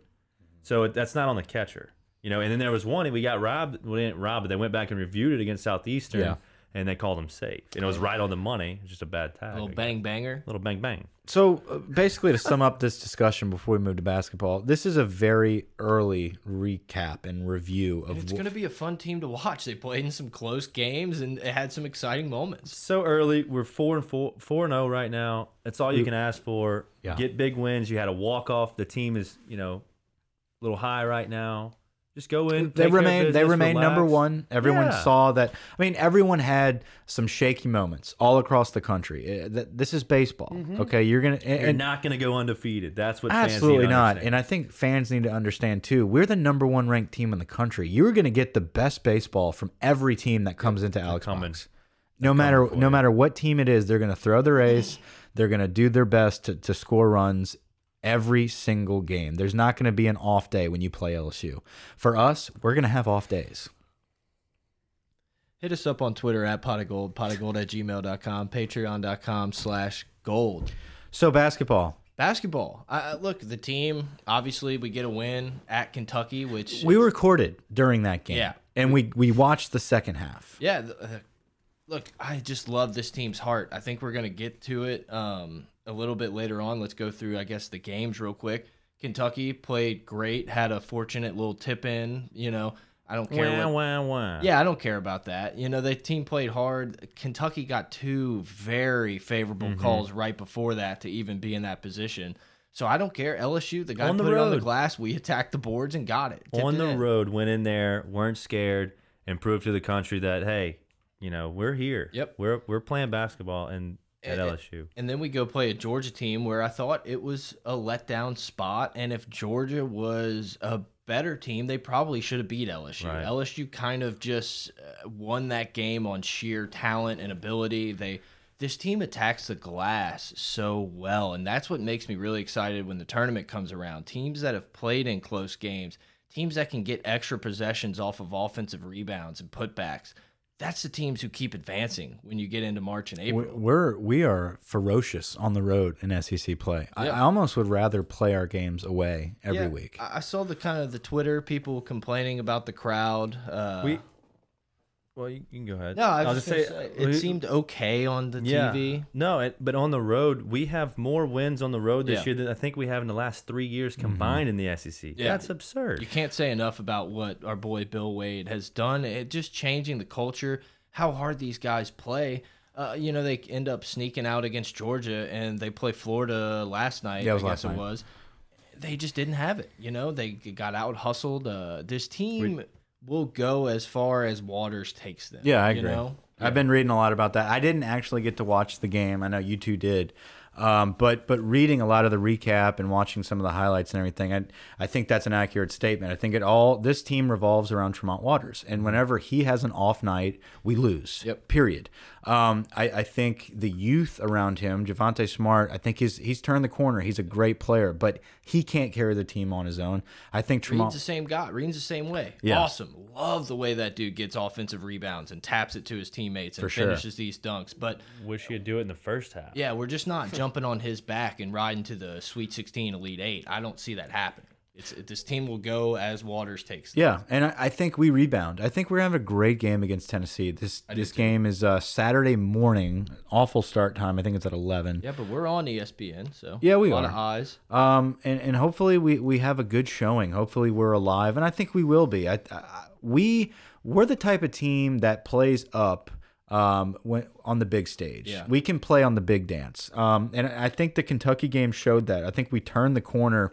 so it, that's not on the catcher, you know. And then there was one and we got robbed. We didn't rob, but they went back and reviewed it against Southeastern,
Yeah.
and they called him safe. And it was right on the money. It was just a bad tag.
little bang banger.
Little bang bang.
So uh, basically, to sum up this discussion before we move to basketball, this is a very early recap and review of
It's
wh-
going to be a fun team to watch. They played in some close games and it had some exciting moments.
so early. We're four and four, four and zero right now. That's all you can ask for.
Yeah.
Get big wins. You had a walk off. The team is you know a little high right now. Just go in.
they
take care of
remain they
business,
remain number
relax.
one. Everyone
Yeah.
saw that. I mean, everyone had some shaky moments all across the country. Uh, th- This is baseball.
Mm-hmm.
Okay, you're gonna and,
You're
and
not going to go undefeated. That's what fans need to
absolutely not.
understand.
And I think fans need to understand too. We're the number one ranked team in the country. You're gonna get the best baseball from every team that comes into Alex
coming.
Box. No matter no matter what team it is, they're gonna throw
Mm-hmm.
their ace. They're gonna do their best to, to score runs every single game. There's not gonna be an off day when you play LSU. For us, we're gonna have off days.
Hit us up on Twitter at pot of gold, pot of gold at gmail.com, patreon.com slash gold.
So basketball.
Basketball. I, I- look, the team, obviously, we get a win at Kentucky, which.
We recorded during that game.
Yeah.
And we we watched the second half.
yeah. th- uh, Look, I just love this team's heart. I think we're going to get to it um, a little bit later on. Let's go through, I guess, the games real quick. Kentucky played great, had a fortunate little tip in. You know, I don't care.
Wah,
what,
wah, wah.
yeah, I don't care about that. You know, the team played hard. Kentucky got two very favorable
Mm-hmm.
calls right before that to even be in that position. So I don't care. LSU, the guy
On the
put it on the
road.
glass. We attacked the boards and got it. Tipped
on
it
the
in.
road, went in there, weren't scared, and proved to the country that hey, you know we're here.
Yep.
we're we're playing basketball and at
And-
LSU.
And then we go play a Georgia team where I thought it was a letdown spot. And if Georgia was a better team, they probably should have beat LSU.
Right.
LSU kind of just uh, won that game on sheer talent and ability. They this team attacks the glass so well, and that's what makes me really excited when the tournament comes around. Teams that have played in close games, teams that can get extra possessions off of offensive rebounds and putbacks. That's the teams who keep advancing when you get into March and April.
We- We're we are ferocious on the road in SEC play. I,
Yeah.
I almost would rather play our games away every
Yeah,
week.
I I saw the kind of the Twitter people complaining about the crowd. Uh,
we, well, you, you can go ahead.
no, I
I'll
was just gonna say, it
we-
seemed okay on the
yeah.
TV.
No, it, but on the road, we have more wins on the road this
Yeah.
year than I think we have in the last three years combined in the SEC.
Yeah.
That's absurd.
You can't say enough about what our boy Bill Wade has done. It just changing the culture, how hard these guys play. Uh, you know, they end up sneaking out against Georgia, and they play Florida last night.
Yeah, it was
I guess
last
it
night.
was. They just didn't have it. You know, they got out hustled. Uh, this team will go as far as Waters takes them.
Yeah, I
you
agree.
know?
I've been reading a lot about that. I didn't actually get to watch the game. I know you two did, um, but but reading a lot of the recap and watching some of the highlights and everything, I I think that's an accurate statement. I think it all this team revolves around Tremont Waters, and whenever he has an off night, we lose.
Yep.
Period. Um, I, I think the youth around him, Javante Smart, I think he's he's turned the corner. He's a great player, but he can't carry the team on his own. I think
Reed's
Tremont.
the same guy. Reed's the same way.
Yeah.
Awesome. Love the way that dude gets offensive rebounds and taps it to his teammates and
For sure.
finishes these dunks. But
Wish you'd do it in the first half.
yeah, we're just not jumping on his back and riding to the Sweet 16, Elite Eight. I don't see that happening. It's this team will go as Waters takes. them.
Yeah, and I, I think we rebound. I think we're having a great game against Tennessee. This this game is uh, Saturday morning, awful start time. I think it's at eleven.
Yeah, but we're on E ESPN, so
Yeah, we
a lot of
are.
eyes.
Um, and, and hopefully we, we have a good showing. Hopefully we're alive, and I think we will be. I, I we we're the type of team that plays up um when on the big stage.
Yeah.
We can play on the big dance. Um, and I think the Kentucky game showed that. I think we turned the corner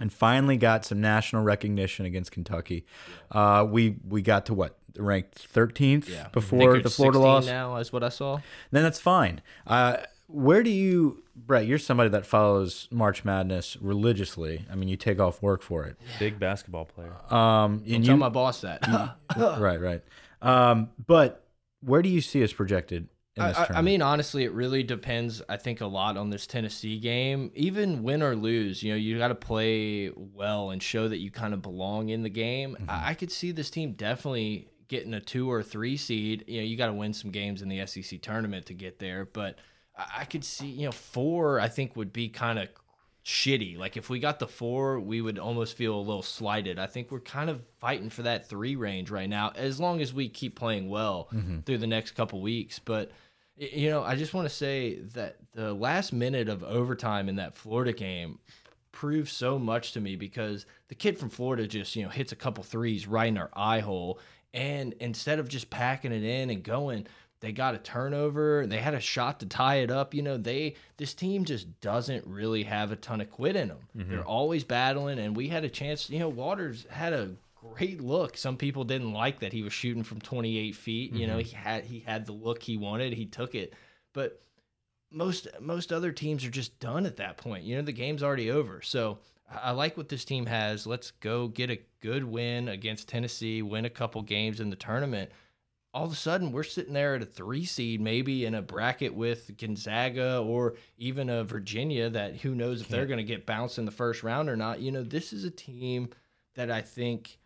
and finally got some national recognition against Kentucky. Uh, we we got to what ranked 13th
Yeah, I
before
think
the
it's
Florida
16
loss.
now is what I saw.
Then that's fine. Uh, where do you, Brett? You're somebody that follows March Madness religiously. I mean, you take off work for it.
Big basketball player.
Um, and
Tell
you,
my boss that.
right, right. Um, but where do you see us projected in this
I, I- I
tournament?
mean, honestly, it really depends. I think a lot on this Tennessee game. Even win or lose, you know, you got to play well and show that you kind of belong in the game.
Mm-hmm.
I, I could see this team definitely getting a two or three seed. You know, you got to win some games in the SEC tournament to get there, but I, I could see, you know, four. I think would be kind of shitty. Like if we got the four, we would almost feel a little slighted. I think we're kind of fighting for that three range right now, as long as we keep playing well through the next couple weeks. But y- you know, I just want to say that the last minute of overtime in that Florida game proved so much to me because the kid from Florida just, you know, hits a couple threes right in our eye hole. And instead of just packing it in and going, they got a turnover. They had a shot to tie it up. You know, they this team just doesn't really have a ton of quit in them. They're always battling, and we had a chance. You know, Waters had a great look. Some people didn't like that he was shooting from 28 feet. You know, he had he had the look he wanted. He took it, but most most other teams are just done at that point. You know, the game's already over. So I I like what this team has. Let's go get a good win against Tennessee, win a couple games in the tournament. All of a sudden, we're sitting there at a three seed, maybe in a bracket with Gonzaga or even a Virginia that who knows if they're going to get bounced in the first round or not. You know, this is a team that I think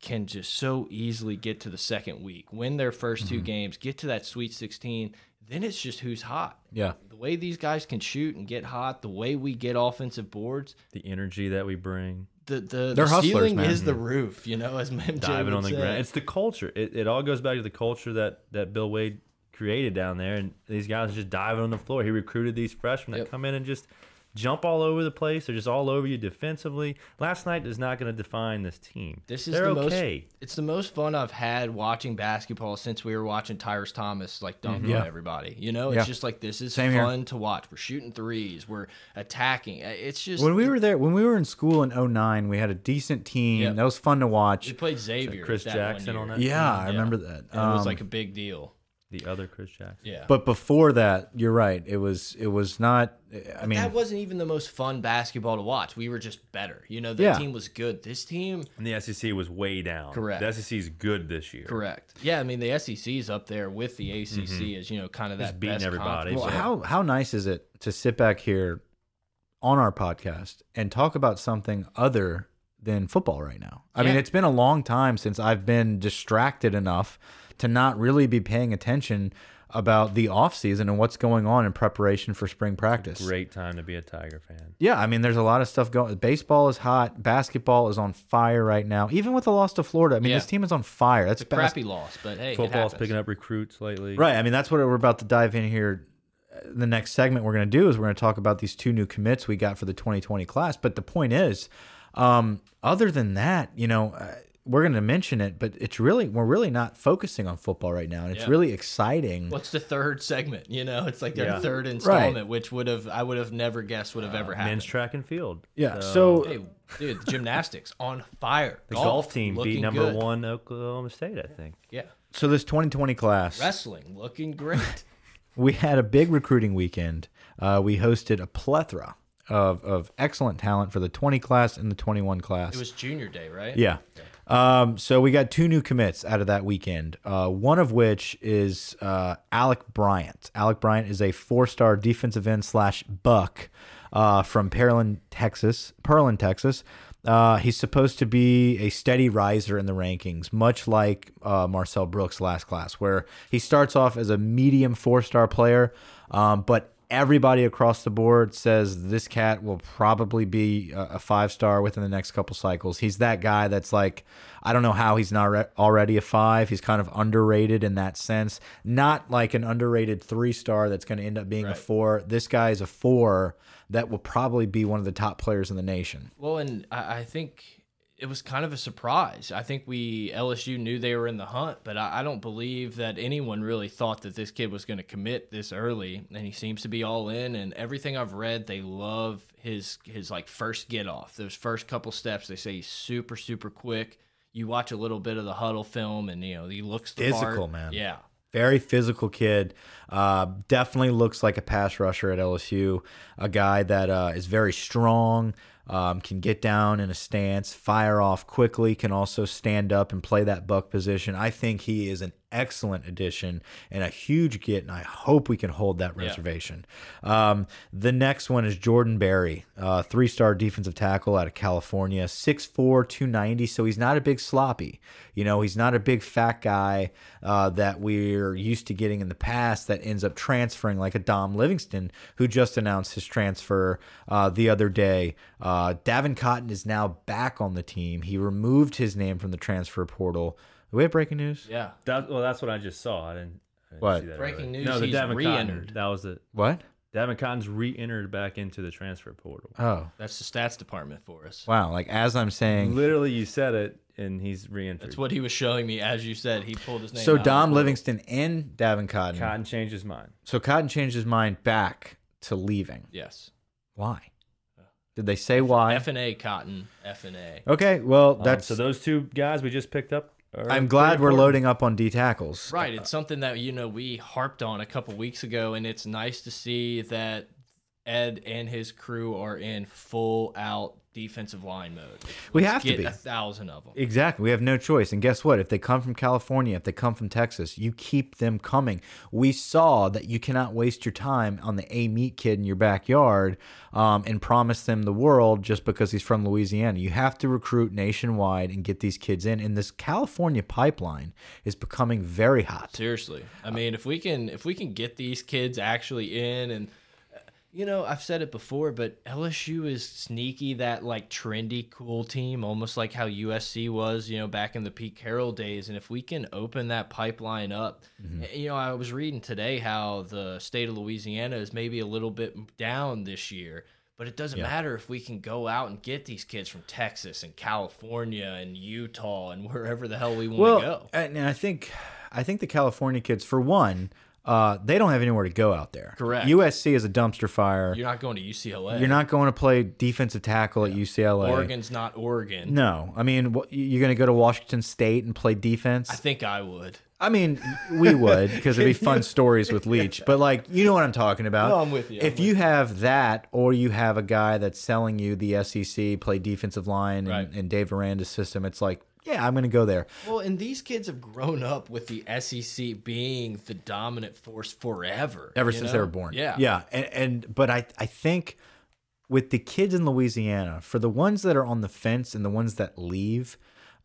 can just so easily get to the second week, win their 1st two games, get to that Sweet 16. Then it's just who's hot
yeah.
the way these guys can shoot and get hot, the way we get offensive boards,
The energy that we bring,
the the, the
They're hustlers,
ceiling
man.
is the roof, you know, as Mem
diving on the
say.
ground. It's the culture. It, it all goes back to the culture that, that Bill Wade created down there. And these guys are just diving on the floor. He recruited these freshmen
Yep.
that come in and just jump all over the place. They're just all over you defensively. Last night is not going to define this team.
This is
They're
the
okay.
most. It's the most fun I've had watching basketball since we were watching Tyrus Thomas like dunk
Mm-hmm. Yeah.
on everybody. You know, it's
Yeah.
just like this is
Same here.
fun to watch. We're shooting threes. We're attacking. Uh, It's just
When we were there, when we were in school in 09, we had a decent team.
Yep.
That was fun to watch.
we played Xavier,
Chris
that
Jackson
one
on
year.
that?
Yeah, I
Yeah.
remember that.
And it was
Um,
like a big deal.
The other Chris Jackson.
Yeah,
but before that, you're right. It was it was not. I mean,
that wasn't even the most fun basketball to watch. We were just better. You know, that
Yeah.
team was good. This team,
And the SEC was way down.
Correct.
The SEC's good this year.
correct? Yeah, I mean the SEC's up there with the ACC as you know, kind of that
Mm-hmm. beating
best
everybody,
conference.
well, how
so-
how nice is it to sit back here on our podcast and talk about something other than football right now? I mean,
Yeah.
it's been a long time since I've been distracted enough to not really be paying attention about the off season and what's going on in preparation for spring practice.
Great time to be a Tiger fan.
Yeah, I mean, there's a lot of stuff going. Baseball is hot. Basketball is on fire right now. Even with the loss to Florida, I mean,
Yeah.
this team is on fire. That's bas-
Crappy loss, but hey,
Football's
it
picking up recruits lately.
Right. I mean, that's what we're about to dive in here. The next segment we're going to do is we're going to talk about these two new commits we got for the 2020 class. But the point is, um, other than that, you know, uh, we're going to mention it, but it's really, we're really not focusing on football right now. And it's
Yeah.
really exciting.
What's the third segment? You know, it's like their
Yeah. Uh,
third installment, which would have I would have never guessed would have ever happened.
Men's track and field.
Yeah. So,
Hey, dude, the gymnastics on fire.
the golf, team beat
looking
number
good.
one Oklahoma State, I think.
Yeah,
so this 2020 class,
wrestling looking great.
we had a big recruiting weekend. Uh, we hosted a plethora of, of excellent talent for the 20 class and the 21 class.
It was junior day, right?
Yeah. Um, so we got two new commits out of that weekend. Uh, one of which is uh, Alec Bryant. Alec Bryant is a four-star defensive end slash buck uh, from Pearland, Texas. Pearland, Texas. Uh, he's supposed to be a steady riser in the rankings, much like uh, Marcel Brooks last class, where he starts off as a medium four-star player, um, but everybody across the board says this cat will probably be a, a five star within the next couple cycles. He's that guy that's like, I don't know how he's not re- already a five. He's kind of underrated in that sense. Not like an underrated three star that's going to end up being a four. This guy is a four that will probably be one of the top players in the nation.
Well, and I, I think it was kind of a surprise. I think we LSU knew they were in the hunt, but I, I don't believe that anyone really thought that this kid was going to commit this early. And he seems to be all in. And everything I've read, they love his his like first get off. Those first couple steps, they say he's super super quick. You watch a little bit of the huddle film, and you know he looks the part.
Physical, man.
Yeah,
Very physical kid. Uh, definitely looks like a pass rusher at LSU. A guy that uh, is very strong, um, can get down in a stance, fire off quickly, can also stand up and play that buck position. I think he is an excellent addition and a huge get, and I hope we can hold that reservation. Um, the next one is Jordan Berry, uh, three star defensive tackle out of California, 6'4, 290. So he's not a big sloppy. You know, he's not a big fat guy uh, that we're used to getting in the past that ends up transferring, like a Dom Livingston, who just announced his transfer uh, the other day. Uh, Davin Cotton is now back on the team. He removed his name from the transfer portal. Do we have breaking news?
yeah.
That, well, that's what I just saw. I didn't, I didn't
What?
see that
Breaking
earlier.
news,
No, the
he's
Davin Cotton.
re-entered.
That was it.
What?
Davin Cotton's re-entered back into the transfer portal.
Oh,
That's the stats department for us.
wow. Like, as I'm saying,
Literally, you said it, and he's re-entered.
That's what he was showing me as you said. He pulled his name.
so
out.
Dom Livingston and Davin Cotton.
Cotton changed his mind.
So Cotton changed his mind back to leaving.
Yes.
Why? Uh, Did they say why?
F and A Cotton. F and A.
Okay, well,
Um,
that's.
so those two guys we just picked up. Are
I'm glad
pretty
we're
important.
loading up on D tackles.
Right. It's something that, you know, we harped on a couple weeks ago, and it's nice to see that Ed and his crew are in full out defensive line mode.
We have to
Get
be.
a thousand of them.
Exactly. We have no choice. And guess what? If they come from California, if they come from Texas, you keep them coming. We saw that you cannot waste your time on the A meat kid in your backyard um, and promise them the world just because he's from Louisiana. You have to recruit nationwide and get these kids in. And this California pipeline is becoming very hot.
Seriously. I mean, if we can if we can get these kids actually in and uh, you know, I've said it before, but LSU is sneaky that like trendy cool team, almost like how USC was, you know, back in the Pete Carroll days. And if we can open that pipeline up,
Mm-hmm.
eh, you know, I was reading today how the state of Louisiana is maybe a little bit down this year. But it doesn't
Yeah.
matter if we can go out and get these kids from Texas and California and Utah and wherever the hell we want to go.
and I think I think the California kids, for one, uh, they don't have anywhere to go out there.
Correct.
USC is a dumpster fire. You're,
You're not going to UCLA.
not going to play defensive tackle at UCLA.
Oregon's not Oregon.
No, I mean, wh- you're going to go to Washington State and play defense.
I think I would.
I mean, we would because it'd be fun stories with Leach. But like, you know what I'm talking about.
No, I'm with you, I'm
If
with
you have that, or you have a guy that's selling you the SEC, play defensive line,
Right.
and, and Dave Aranda's system, it's like, yeah, I'm going to go there.
Well, and these kids have grown up with the SEC being the dominant force forever.
ever
you
since they
know?
were born.
Yeah.
yeah, and, and but I I think with the kids in Louisiana, for the ones that are on the fence and the ones that leave,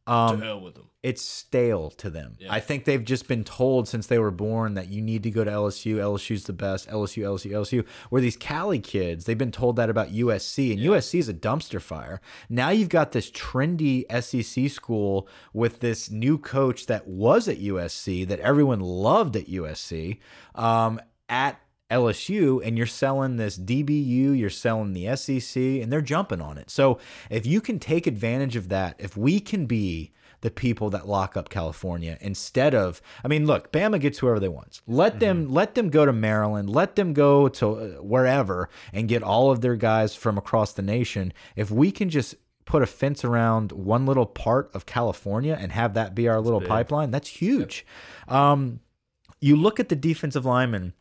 To
Um,
hell with them.
it's stale to them. I think they've just been told since they were born that you need to go to LSU. LSU's the best. LSU, LSU, LSU. Where these Cali kids, they've been told that about USC, and USC is a dumpster fire. Now you've got this trendy SEC school with this new coach that was at USC that everyone loved at USC um, at LSU, and you're selling this DBU, you're selling the SEC, and they're jumping on it. So if you can take advantage of that, if we can be the people that lock up California instead of I mean look Bama gets whoever they want let them let them go to Maryland let them go to uh, wherever and get all of their guys from across the nation if we can just put a fence around one little part of California and have that be our little pipeline that's huge um you look at the defensive linemen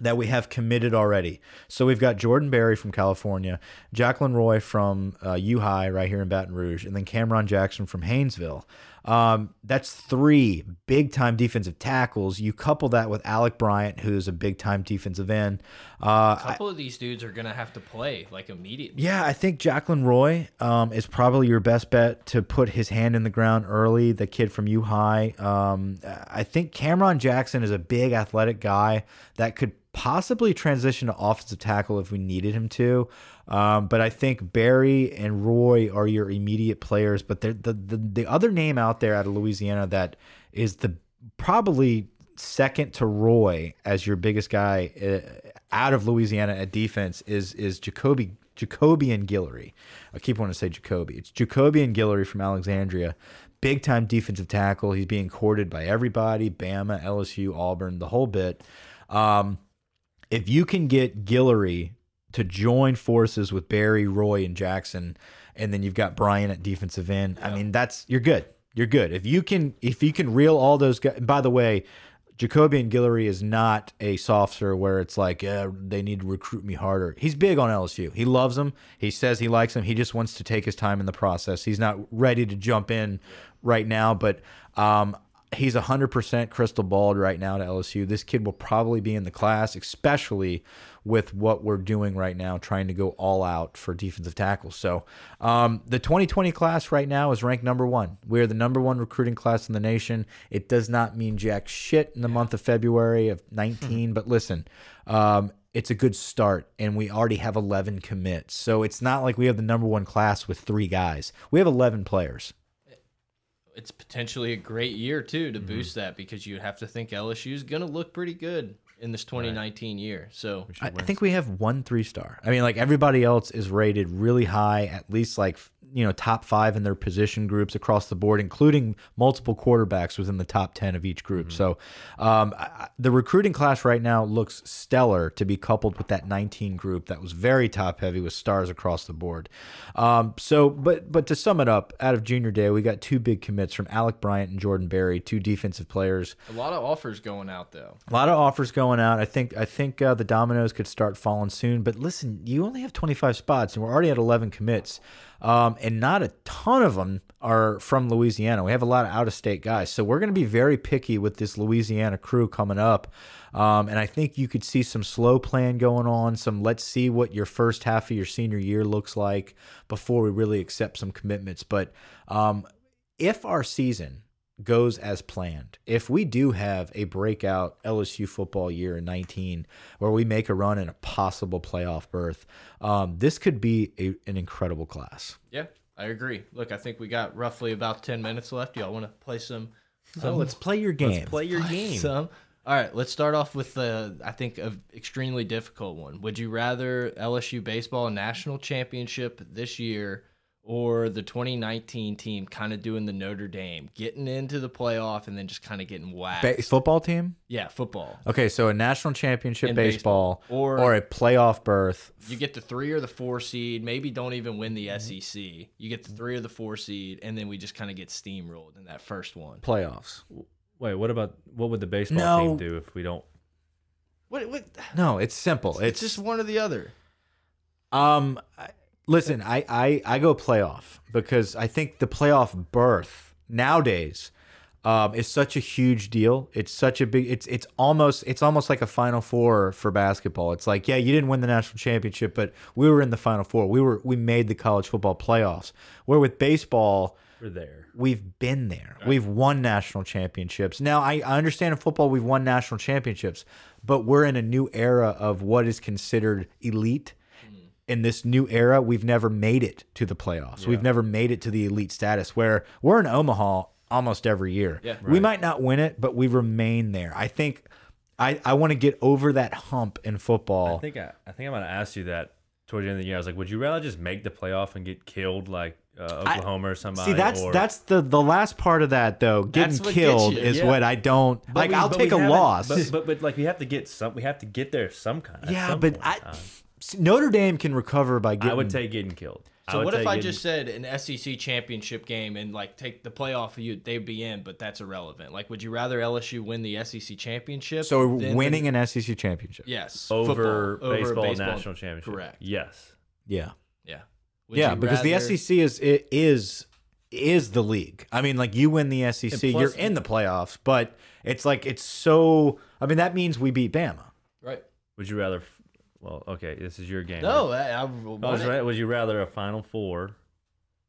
that we have committed already. So we've got Jordan Berry from California, Jacqueline Roy from uh, U High right here in Baton Rouge, and then Cameron Jackson from Haynesville. Um, that's three big time defensive tackles. You couple that with Alec Bryant, who's a big time defensive end. Uh,
A couple of these dudes are going to have to play like immediately.
yeah, I think Jacqueline Roy um, is probably your best bet to put his hand in the ground early. The kid from U High. Um, I think Cameron Jackson is a big athletic guy that could possibly transition to offensive tackle if we needed him to. Um, but I think Barry and Roy are your immediate players. But they're- the, the the other name out there out of Louisiana that is the probably second to Roy as your biggest guy uh, out of Louisiana at defense is is Jacoby Jacobian Guillory. I keep wanting to say Jacoby. It's Jacobian Guillory from Alexandria. Big time defensive tackle. He's being courted by everybody, Bama, LSU, Auburn, the whole bit. Um, if you can get Guillory to join forces with Barry, Roy, and Jackson, and then you've got Brian at defensive end, I mean, that's you're good. You're good. If you can if you can reel all those guys by the way, Jacoby and Guillory is not a softer where it's like, yeah, they need to recruit me harder. He's big on LSU. He loves them. He says he likes them. He just wants to take his time in the process. He's not ready to jump in right now, but um, he's 100% crystal balled right now to LSU. This kid will probably be in the class, especially with what we're doing right now, trying to go all out for defensive tackles. So um, the 2020 class right now is ranked number one. We are the number one recruiting class in the nation. It does not mean jack shit in the month of February of 19, but listen, um, it's a good start, and we already have 11 commits. So it's not like we have the number one class with three guys. We have 11 players.
It's potentially a great year, too,
Mm-hmm.
to boost that because you have to think LSU's going to look pretty good in this 2019 year. So
I, I think we have one three star. I mean, like everybody else is rated really high, at least like you know top five in their position groups across the board, including multiple quarterbacks within the top ten of each group. So, um, I- I- the recruiting class right now looks stellar to be coupled with that 19 group that was very top heavy with stars across the board. Um, so, but but to sum it up, out of junior day, we got two big commits from Alec Bryant and Jordan Berry, two defensive players.
a lot of offers going out, though.
A lot of offers going out. I think I think uh, the dominoes could start falling soon. But listen, you only have 25 spots, and we're already at 11 commits, um, and not a ton of them are from Louisiana. We have a lot of out of state guys, so we're going to be very picky with this Louisiana crew coming up. Um, and I think you could see some slow plan going on. Some let's see what your first half of your senior year looks like before we really accept some commitments. But um, if our season goes as planned, if we do have a breakout LSU football year in 19 where we make a run in a possible playoff berth, um, this could be a, an incredible class.
Yeah, I agree. Look, I think we got roughly about 10 minutes left. Y'all want to play some?
So Oh. let's play your game.
Play your game.
Some All right, let's start off with the I think a extremely difficult one. Would you rather LSU baseball national championship this year or the 2019 team kind of doing the Notre Dame, getting into the playoff and then just kind of getting whacked?
Ba football team?
yeah, football.
Okay, so a national championship
In
baseball,
baseball. Or-
or a playoff berth.
You get the three or the four seed, maybe don't even win
Mm-hmm.
the SEC. You get the three or the four seed, and then we just kind of get steamrolled in that first one.
Playoffs.
Wait, what about what would the baseball
No.
team do if we don't?
What, what,
No, it's simple.
it's
It's,
just one or the other.
um. I- Listen, I, I I go playoff because I think the playoff berth nowadays um, is such a huge deal. It's such a big. It's it's almost it's almost like a Final Four for basketball. It's like yeah, you didn't win the national championship, but we were in the Final Four. We were we made the college football playoffs. Where with baseball,
We're there.
we've been there. We've won national championships. Now, I, I understand in football we've won national championships, but we're in a new era of what is considered elite.
Hmm.
In this new era, we've never made it to the playoffs. We've never made it to the elite status where we're in Omaha almost every year.
Yeah.
We might not win it, but we remain there. I think I, I want to get over that hump in
I
football.
think I, I think I'm gonna ask you that towards the end of the year. I was like, would you rather just make the playoff and get killed like uh, Oklahoma or somebody?
See, that's
or,
that's the the last part of that though. Getting
That's what gets
killed
you,
is
yeah.
what I don't like.
we-
I'll
but
take
we
a
haven't-
loss.
But, but but like we have to get some. We have to get there some kind. at
Yeah,
some
but
point in
I,
time.
s- Notre Dame can recover by getting.
I would take getting killed.
So
would
what if
take
I
getting-
just said an SEC championship game and like take the playoff? You they'd be in, but that's irrelevant. Like, would you rather LSU win the SEC championship?
so
than-
winning an SEC championship.
yes,
over,
football,
baseball, national championship?
Correct.
Yes.
Yeah,
Yeah, Would
yeah,
you
because
rather-
the E SEC is it is is the league. I mean, like you win the SEC,
And plus-
you're in the playoffs, but it's like it's so. I mean, that means we beat Bama.
right?
Would you rather? f- Well, okay, this is your game.
No, I, I want
I was
it.
right. Would you rather a Final Four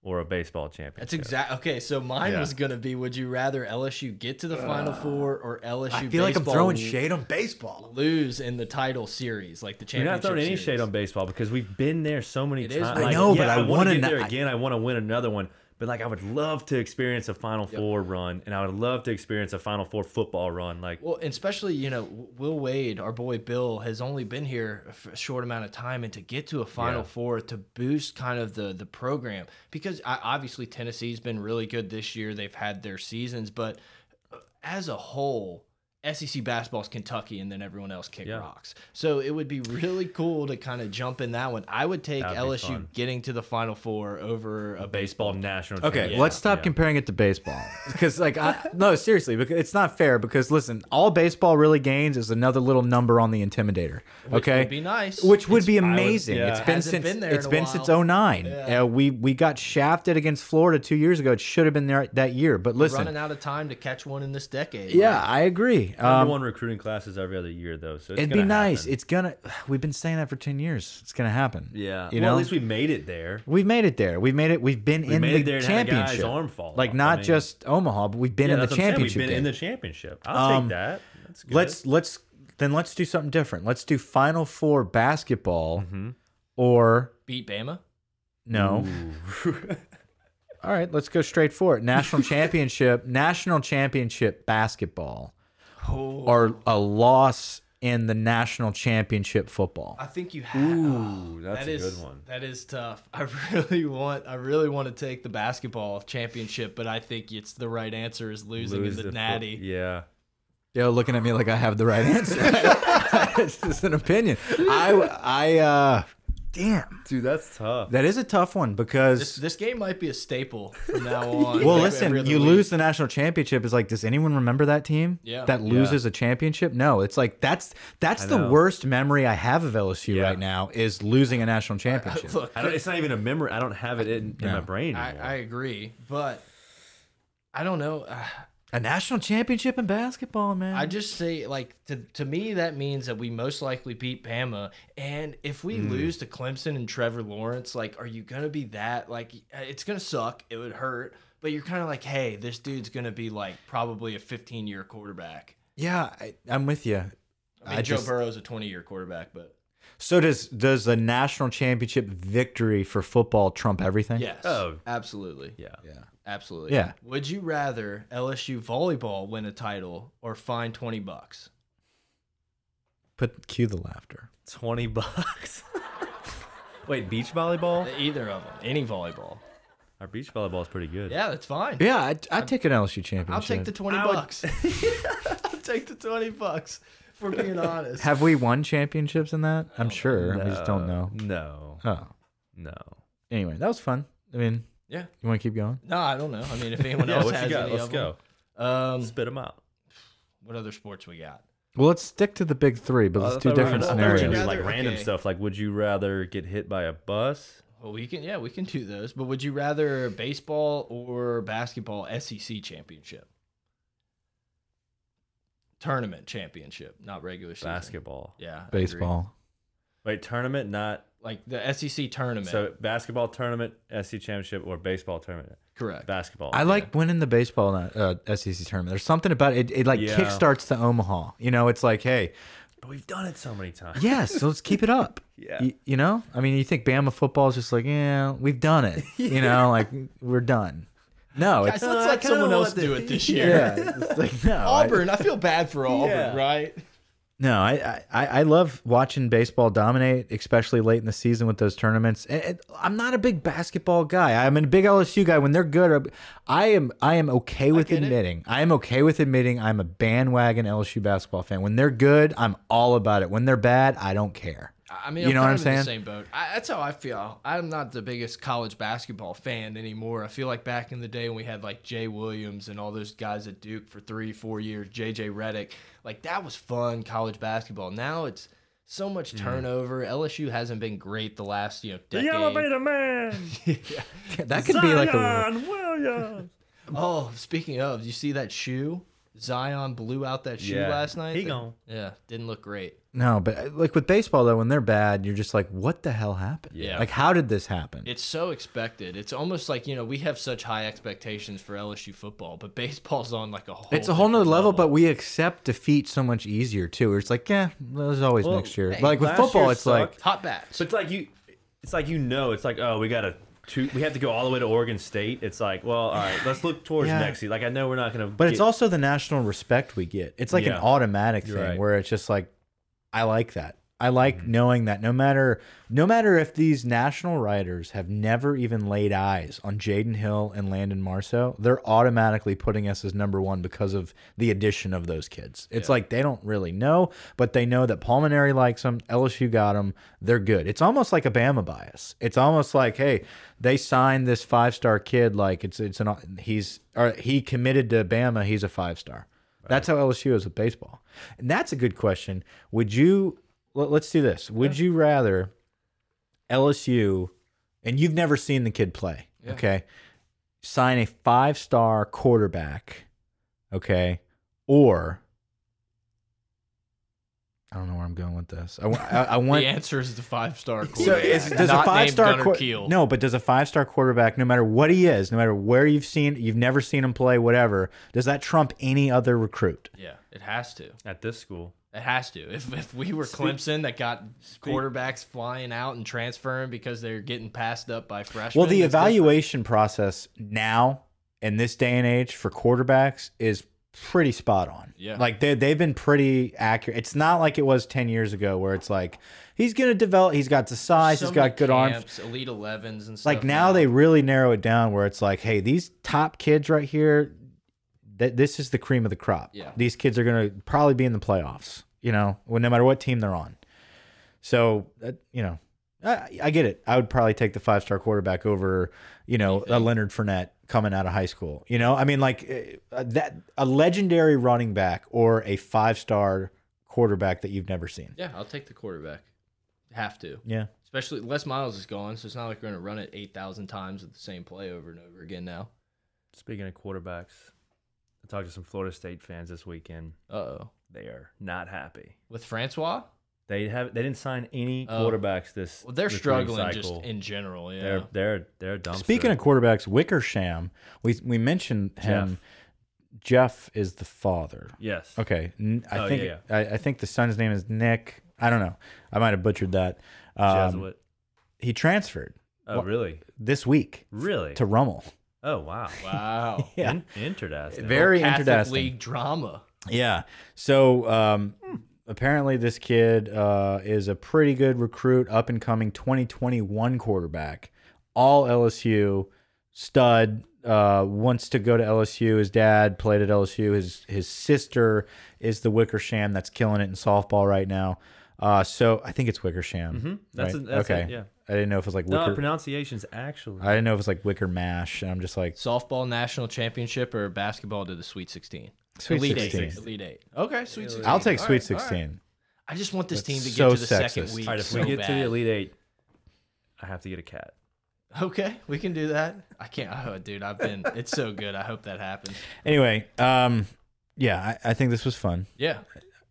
or a baseball championship?
That's exact. Okay, so mine
Yeah.
was gonna be: Would you rather LSU get to the Final Four or LSU?
Uh, I feel like I'm
baseball
throwing shade on baseball.
Lose in the title series, like the
You're not
championship.
throwing any
series.
shade on baseball because we've been there so many
It is
times.
what it
Like,
is.
I know, but I
wanna
wanna
get there
not-
again. I want to win another one. But like, I would love to experience a Final Four run, and I would love to experience a Final Four football run. Like,
Well, and especially you know, Will Wade, our boy Bill, has only been here for a short amount of time, and to get to a Final
Yeah.
Four to boost kind of the the program because I, obviously Tennessee's been really good this year. They've had their seasons, but uh, as a whole. SEC basketball's Kentucky, and then everyone else kick
Yeah.
rocks. So it would be really cool to kind of jump in that one. I would take
That'd be
LSU
fun.
getting to the Final Four over a
baseball national.
Okay,
championship.
let's stop
Yeah.
comparing it to baseball because, like, I, no, seriously, because it's not fair. Because listen, all baseball really gains is another little number on the intimidator.
Which
Okay,
would be nice.
which would be
would-
amazing.
yeah.
It's been
Hasn't
since
been there
it's
in a
been
while.
since 09.
Yeah.
Uh, we we got shafted against Florida two years ago. It should have been there that year. But
running
listen,
out of time to catch one in this decade.
yeah, I agree.
Number
Um,
one recruiting classes every other year, though. So it's
it'd be
gonna
nice.
happen.
It's gonna. We've been saying that for 10 years. It's gonna happen.
yeah.
you
well,
know.
at least we made it there.
We've made it there. We've made it. We've been in
made
the
it there and had a guy's
championship.
arm fall
like
off. I
not
mean-
just Omaha, but we've been
Yeah,
in the
that's what I'm saying.
championship.
We've been
game.
in the championship. I'll
Um,
take that. That's good.
Let's let's then let's do something different. Let's do Final Four basketball or
beat Bama.
no. All right, let's go straight for it. National championship, national championship basketball,
Oh,
or a loss in the national championship football.
I think you have.
Ooh, that's a good one.
That is tough. I really want. I really want to take the basketball championship, but I think it's the right answer is losing
Lose
in the,
fo-
natty.
Yeah.
Yo, looking at me like I have the right answer. it's just an opinion. I I uh, damn,
Dude, that's tough.
that is a tough one because
This, this game might be a staple from now on.
Well,
Every
listen,
other
you
week.
lose the national championship. Is like, does anyone remember that team?
Yeah.
That loses a championship? No, it's like that's that's the
know.
worst memory I have of LSU
Yeah.
right now is losing a national championship.
Look,
I don't, it's not even a memory. I don't have it in, in
No.
my brain
I,
anymore.
I agree, but I don't know. Uh,
a national championship in basketball, man.
I just say like to to me that means that we most likely beat Bama, and if we lose to Clemson and Trevor Lawrence, like, are you gonna be that like? uh, It's gonna suck. It would hurt, but you're kind of like, hey, this dude's gonna be like probably a 15 year quarterback.
yeah, I, I'm with you.
I mean,
I
Joe
just-
Burrow's a 20 year quarterback, but
So does does the national championship victory for football trump everything?
yes,
Oh.
absolutely,
yeah.
absolutely.
Yeah.
Would you rather LSU volleyball win a title or fine 20 bucks?
Put cue the laughter.
Twenty bucks. Wait, beach volleyball?
Either of them, any volleyball.
Our beach volleyball is pretty good.
Yeah, that's fine.
Yeah, I would take an LSU championship.
I'll take the twenty
I would-
bucks. I'll take the twenty bucks. For being honest,
Have we won championships in that?
Oh,
I'm sure. I just don't know.
No,
Oh,
no.
anyway, that was fun. I mean,
yeah.
you want to keep going?
No, I don't know. I mean, if anyone
Yeah,
else
what
has
you got?
any
Let's
of
go.
them, um,
Spit them out.
what other sports we got?
Well, let's stick to the big three, but let's
Oh, I
do
thought we were
different
gonna- I thought we were gonna
scenarios.
do,
Rather-
like random
okay.
stuff. Like, would you rather get hit by a bus?
Well, we can, yeah, we can do those. But would you rather baseball or basketball SEC championship? Tournament championship, not regular season.
Basketball.
Yeah. I agree.
Baseball.
Wait, tournament, not
Like the SEC tournament.
so basketball tournament, SC championship, or baseball tournament.
correct.
Basketball.
I like winning the baseball uh, uh, SEC tournament. There's something about it. It, it, like
Yeah.
kickstarts the Omaha. You know, it's like, hey,
But we've done it so many times.
yes, so let's keep it up.
Yeah.
Y- You, know, I mean, you think Bama football is just like, yeah, we've done it. You know, like we're done. No,
Guys,
it's
let's
I
let
kinda
someone
want
else
the-
do it this year.
yeah, it's like no, I-
Auburn, I feel bad for Auburn,
Yeah.
right?
No, I, I- I I love watching baseball dominate, especially late in the season with those tournaments. And, and I'm not a big basketball guy. I'm a big LSU guy. When they're good, I am I am okay with
get it.
admitting. I am okay with admitting I'm a bandwagon LSU basketball fan. When they're good, I'm all about it. When they're bad, I don't care.
I mean,
You
I'm
know what
kind
I'm
of in the
saying?
same boat. I, that's how I feel. I'm not the biggest college basketball fan anymore. I feel like back in the day when we had like Jay Williams and all those guys at Duke for three, four years, JJ Reddick, like that was fun college basketball. Now it's so
Hmm.
much turnover. LSU hasn't been great the last you know decade.
man.
That could be like a
Williams.
Oh, speaking of, you see that shoe? Zion blew out that shoe
Yeah.
last night.
He gone.
Yeah, didn't look great.
no, but like with baseball though, when they're bad, you're just like, what the hell happened?
Yeah.
Like, how did this happen?
It's so expected. It's almost like you know we have such high expectations for LSU football, but baseball's on like a whole.
It's a whole nother
different
level, but we accept defeat so much easier too. It's like, yeah, there's always next year.
hey,
like with
last
football,
year
it's like,
sucked.
hot bats.
But it's like you, it's like you know, it's like oh, we gotta. two- We have to go all the way to Oregon State. It's like, well, all right, let's look towards
Yeah.
next year. Like, I know we're not gonna.
but it's also the national respect we get. It's like an
Yeah.
automatic thing
You're right. Mm-hmm.
where it's just like, I like that. I like knowing that no matter no matter if these national writers have never even laid eyes on Jaden Hill and Landon Marceau, they're automatically putting us as number one because of the addition of those kids. It's like they don't really know, but they know that Pulmonary likes them, LSU got them, they're good. It's almost like a Bama bias. It's almost like, hey, they signed this five star kid, like it's it's an he's or he committed to Bama, he's a five star. That's how LSU is with baseball. And that's a good question. Would you let, let's do this. Would you rather LSU and you've never seen the kid play, okay? Sign a five-star quarterback, okay? Or I don't know where I'm going with this. I, wa- I, I want
the answer is the five star.
so is, does a five star
Keel?
no, but does a five star quarterback, no matter what he is, no matter where you've seen, you've never seen him play, whatever, does that trump any other recruit?
Yeah, it has to.
at this school.
It has to. If if we were Clemson that got quarterbacks flying out and transferring because they're getting passed up by freshmen.
Well, the
it's different.
evaluation process now in this day and age for quarterbacks is pretty spot on.
Yeah.
Like they they've been pretty accurate. It's not like it was 10 years ago where it's like he's going to develop, he's got the size,
So
he's
many
got good arms.
camps, elite elevens and stuff.
Like now they really narrow it down where it's like, hey, these top kids right here, th this is the cream of the crop.
Yeah.
These kids are going to probably be in the playoffs, you know, when, no matter what team they're on. So, that, you know, I, I get it. I would probably take the five star quarterback over, you know, a Leonard Fournette coming out of high school. You know, I mean, like uh, that a legendary running back or a five star quarterback that you've never seen.
Yeah, I'll take the quarterback. Have to.
Yeah.
Especially Les Miles is gone, so it's not like we're gonna run it eight thousand times with the same play over and over again now.
Speaking of quarterbacks, I talked to some Florida State fans this weekend.
Uh oh.
They are not happy.
With Francois?
They have they didn't sign any
Oh.
quarterbacks this.
Well, they're
recruiting
struggling
cycle.
just in general, yeah.
They're they're they're dumb.
Speaking of quarterbacks, Wickersham, we we mentioned him. Jeff is the father.
yes,
Okay, N- I
Oh,
think
yeah,
I, I think the son's name is Nick. I don't know. I might have butchered that. Um,
Jesuit.
he transferred
Oh really?
this week
Really?
to Rummel.
oh wow.
Wow.
Yeah.
In- interesting.
Very
Catholic
interesting.
League drama.
Yeah. So um, apparently this kid uh, is a pretty good recruit, up and coming 2021 quarterback, all LSU stud. Uh, wants to go to LSU. His dad played at LSU. His his sister is the Wickersham that's killing it in softball right now. Uh, so I think it's Wickersham.
Mhm. That's
right?
it- that's it,
okay.
yeah.
I didn't know if it was like
No,
Wicker.
pronunciations actually.
I didn't know if it was like Wicker Mash. And I'm just like
Softball national championship or basketball to the Sweet 16?
Sweet
Elite
16.
Eight. Elite Eight. Okay, Sweet 16.
I'll take
All
Sweet
right, all right.
16.
I just want this
That's
team to get
so
to the second
sexist.
week.
All right, if
so
we get to
bad.
the Elite Eight, I have to get a cat.
Okay, we can do that. I can't. Oh, dude, I've been. It's so good. I hope that happens.
Anyway, um, yeah, I, I think this was fun.
Yeah,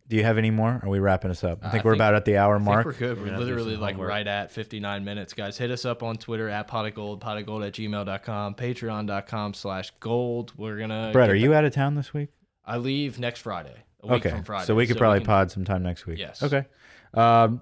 Do you have any more? Are we wrapping us up? I
I
think we're
think-
about at the hour
I think
mark.
we're good. We're,
gonna do
literally
some
like
homework.
right at 59 minutes, guys. Hit us up on Twitter at pot of gold, pot of gold at gmail.com, patreon.com slash gold. We're gonna.
Brett,
get
are
the-
you out of town this week?
I leave next Friday. A week
okay,
from Friday.
so we could probably
can-
pod sometime next week.
Yes.
Okay. Um,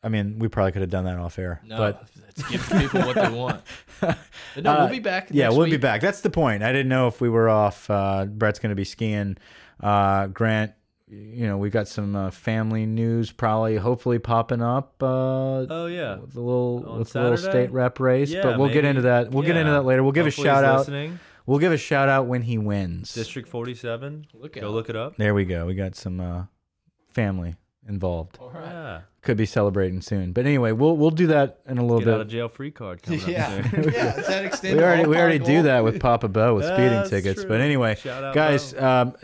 I mean, we probably could have done that off air,
No,
but
let's give people what they want. But no,
Uh,
we'll be back.
yeah,
next
we'll be
week.
back. That's the point. I didn't know if we were off. Uh, Brett's going to be skiing. Uh, Grant, you know, we've got some uh, family news probably, hopefully popping up. Uh,
Oh yeah.
with a little
On
with a little
Saturday?
state rep race,
Yeah,
but we'll get
maybe.
into that. We'll get into
Yeah.
that later. We'll give
Hopefully
a
he's
shout out.
listening.
We'll give a shout out when he wins.
District 47.
Look
Go
out.
look it up.
There we go. We got some uh, family involved.
All right.
Yeah.
Could be celebrating soon. But anyway, we'll we'll do that in a little
Get out of
bit.
jail free card coming up
Yeah,
soon.
yeah. Is that
We
extended?
already
all
we already
pot of
do
gold?
that with Papa Bo with speeding
That's
tickets.
true.
But anyway,
Shout out,
guys,
Bo.
um,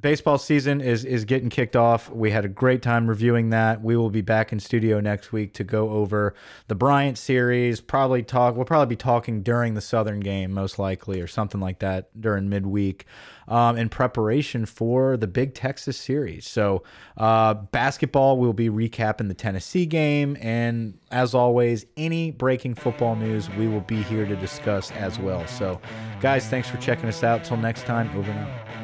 baseball season is is getting kicked off. We had a great time reviewing that. We will be back in studio next week to go over the Bryant series. Probably talk. We'll probably be talking during the Southern game, most likely, or something like that during midweek, um, in preparation for the Big Texas series. So uh, basketball, we'll be recapping the Tennessee game, and as always, any breaking football news, we will be here to discuss as well. So, guys, thanks for checking us out. Till next time, over and out.